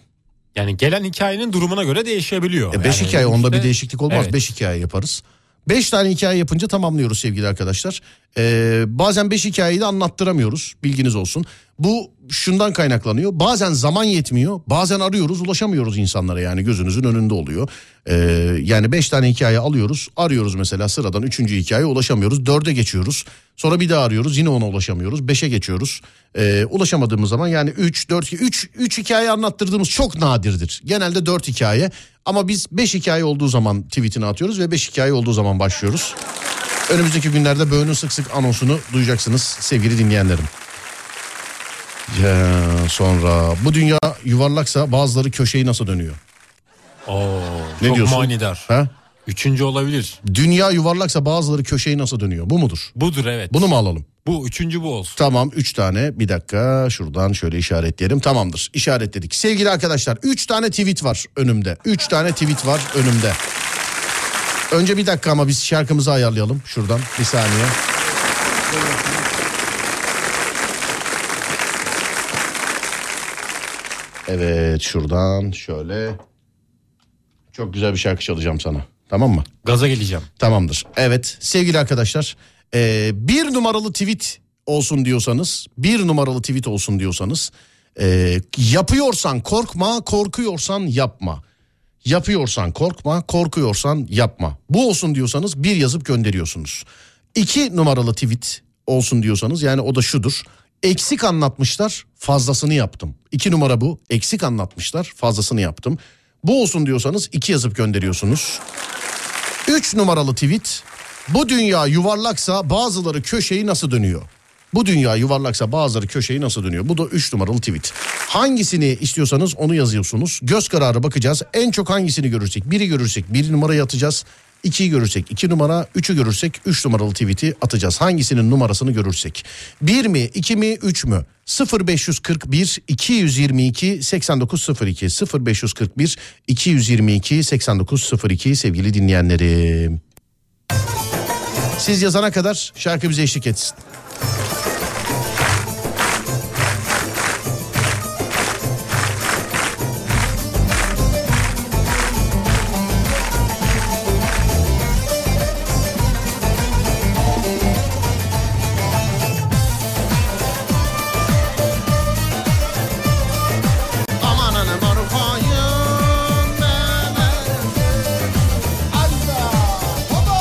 Yani gelen hikayenin durumuna göre değişebiliyor. E beş Yani hikaye onda bir işte- değişiklik olmaz. Evet. 5 hikaye yaparız. 5 tane hikaye yapınca tamamlıyoruz sevgili arkadaşlar. Ee, bazen 5 hikayeyi de anlattıramıyoruz. Bilginiz olsun. Bu şundan kaynaklanıyor. Bazen zaman yetmiyor. Bazen arıyoruz ulaşamıyoruz insanlara yani gözünüzün önünde oluyor. Ee, yani 5 tane hikaye alıyoruz. Arıyoruz mesela sıradan 3. hikayeye ulaşamıyoruz. 4'e geçiyoruz. Sonra bir daha arıyoruz yine ona ulaşamıyoruz. 5'e geçiyoruz. Ee, ulaşamadığımız zaman yani 3, 4, 3, 3 hikaye anlattırdığımız çok nadirdir. Genelde 4 hikaye ama biz 5 hikaye olduğu zaman tweetini atıyoruz ve 5 hikaye olduğu zaman başlıyoruz. Önümüzdeki günlerde Böğün'ün sık sık anonsunu duyacaksınız sevgili dinleyenlerim. Ya, sonra bu dünya yuvarlaksa bazıları köşeyi nasıl dönüyor? Oo, Ne çok diyorsun? manidar. Ha? Üçüncü olabilir. Dünya yuvarlaksa bazıları köşeyi nasıl dönüyor? Bu mudur? Budur evet. Bunu mu alalım? Bu üçüncü bu olsun. Tamam 3 tane bir dakika şuradan şöyle işaretleyelim tamamdır işaretledik. Sevgili arkadaşlar 3 tane tweet var önümde 3 tane tweet var önümde. Önce bir dakika ama biz şarkımızı ayarlayalım şuradan bir saniye. Evet şuradan şöyle çok güzel bir şarkı çalacağım sana tamam mı? Gaza geleceğim. Tamamdır. Evet sevgili arkadaşlar e, bir numaralı tweet olsun diyorsanız bir numaralı tweet olsun diyorsanız e, yapıyorsan korkma korkuyorsan yapma. Yapıyorsan korkma korkuyorsan yapma. Bu olsun diyorsanız bir yazıp gönderiyorsunuz. İki numaralı tweet olsun diyorsanız yani o da şudur. Eksik anlatmışlar fazlasını yaptım. İki numara bu eksik anlatmışlar fazlasını yaptım. Bu olsun diyorsanız iki yazıp gönderiyorsunuz. 3 numaralı tweet. Bu dünya yuvarlaksa bazıları köşeyi nasıl dönüyor? Bu dünya yuvarlaksa bazıları köşeyi nasıl dönüyor? Bu da 3 numaralı tweet. Hangisini istiyorsanız onu yazıyorsunuz. Göz kararı bakacağız. En çok hangisini görürsek? Biri görürsek bir numarayı atacağız. 2'yi görürsek 2 numara, 3'ü görürsek 3 numaralı tweet'i atacağız. Hangisinin numarasını görürsek. 1 mi, 2 mi, 3 mü? 0541 222 8902 0541 222 8902 sevgili dinleyenlerim. Siz yazana kadar şarkı bize eşlik etsin. Aman anam arfayım ben Allah baba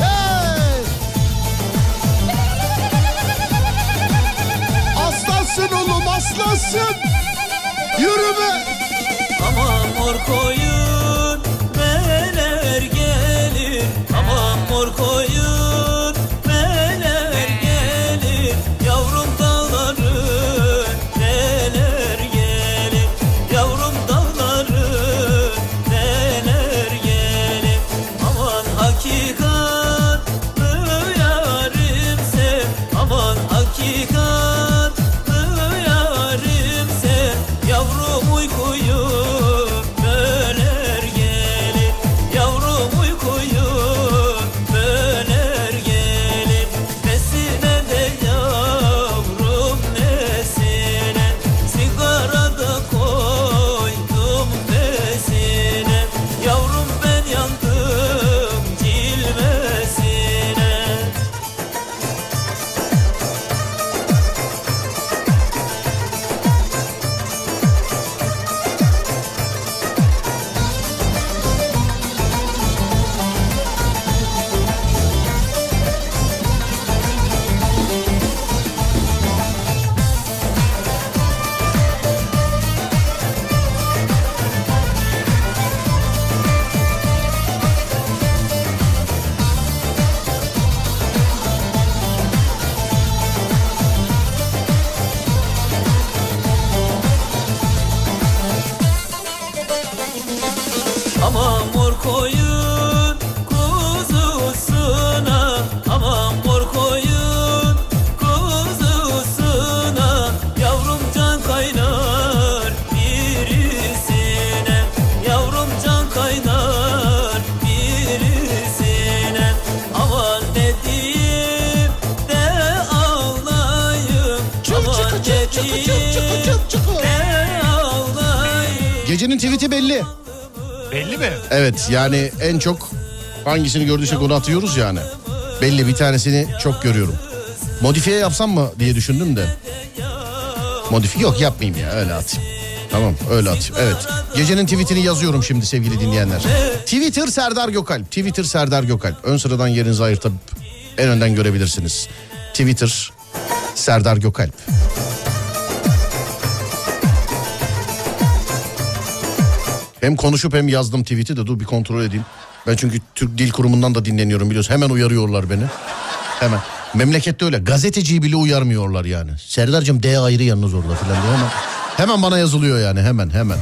hey. Aslansın oğlum aslansın Yürü be Aman mor koyun meler gelir Aman mor koyun meler gelir Yavrum dağları neler gelir Yavrum dağları neler gelir Aman hakikatlı yarim sen Aman hakikatlı yarim sen Yavrum uykuyu böler gelir Yavrum uykuyu böler gelir Nesine de yavrum nesine Sigara da koydum besine Yavrum ben yandım cilvesine Aman mor koyun kuzusuna Aman mor koyun kuzusuna Yavrum can kaynar birisine Yavrum can kaynar birisine Aman ne diyeyim de ağlayayım Aman ne diyeyim de ağlayayım Gecenin tweet'i belli. Belli mi? Evet yani en çok hangisini gördüysek onu atıyoruz yani. Belli bir tanesini çok görüyorum. Modifiye yapsam mı diye düşündüm de. Modifiye yok yapmayayım ya öyle atayım. Tamam öyle atayım evet. Gecenin tweetini yazıyorum şimdi sevgili dinleyenler. Twitter Serdar Gökalp. Twitter Serdar Gökalp. Ön sıradan yerinizi ayırtıp en önden görebilirsiniz. Twitter Serdar Gökalp. Hem konuşup hem yazdım tweet'i de dur bir kontrol edeyim. Ben çünkü Türk Dil Kurumu'ndan da dinleniyorum biliyorsun. Hemen uyarıyorlar beni. Hemen. Memlekette öyle. Gazeteciyi bile uyarmıyorlar yani. Serdar'cığım D ayrı yalnız orada falan diyor ama. Hemen bana yazılıyor yani hemen hemen.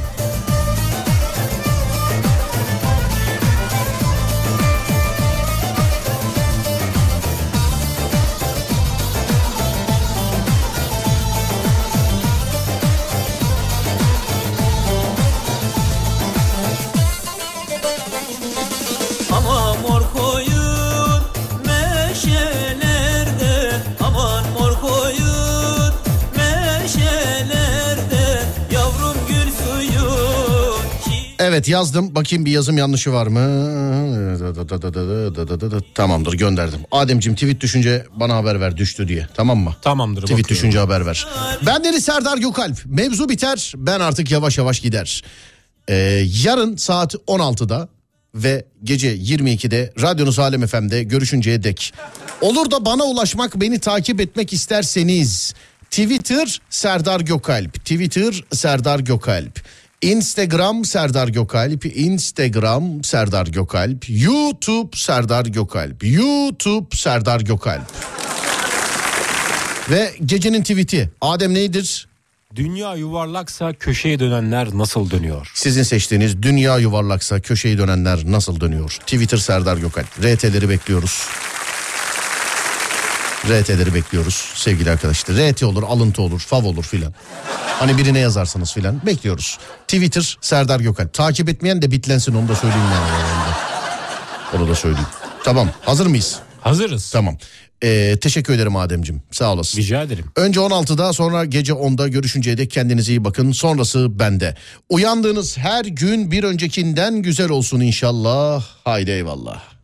Aman mor koyun meşelerde Aman mor koyun meşelerde Yavrum gül suyu Evet yazdım. Bakayım bir yazım yanlışı var mı? Tamamdır gönderdim. Ademciğim tweet düşünce bana haber ver düştü diye. Tamam mı? Tamamdır. Tweet düşünce haber ver. Ben Deniz Serdar Gökalp. Mevzu biter. Ben artık yavaş yavaş gider. Ee, yarın saat 16'da ve gece 22'de radyonuz Alem FM'de görüşünceye dek. Olur da bana ulaşmak, beni takip etmek isterseniz Twitter Serdar Gökalp, Twitter Serdar Gökalp, Instagram Serdar Gökalp, Instagram Serdar Gökalp, YouTube Serdar Gökalp, YouTube Serdar Gökalp. Ve gecenin tweet'i Adem nedir? Dünya yuvarlaksa köşeye dönenler nasıl dönüyor? Sizin seçtiğiniz dünya yuvarlaksa köşeyi dönenler nasıl dönüyor? Twitter Serdar Gökalp. RT'leri bekliyoruz. RT'leri bekliyoruz sevgili arkadaşlar. RT olur, alıntı olur, fav olur filan. Hani birine yazarsınız filan. Bekliyoruz. Twitter Serdar Gökalp. Takip etmeyen de bitlensin onu da söyleyeyim yani. yani. Onu da söyleyeyim. Tamam hazır mıyız? Hazırız. Tamam. Ee, teşekkür ederim Ademciğim. Sağ olasın. Rica ederim. Önce 16'da sonra gece 10'da görüşünceye dek kendinize iyi bakın. Sonrası bende. Uyandığınız her gün bir öncekinden güzel olsun inşallah. Haydi eyvallah.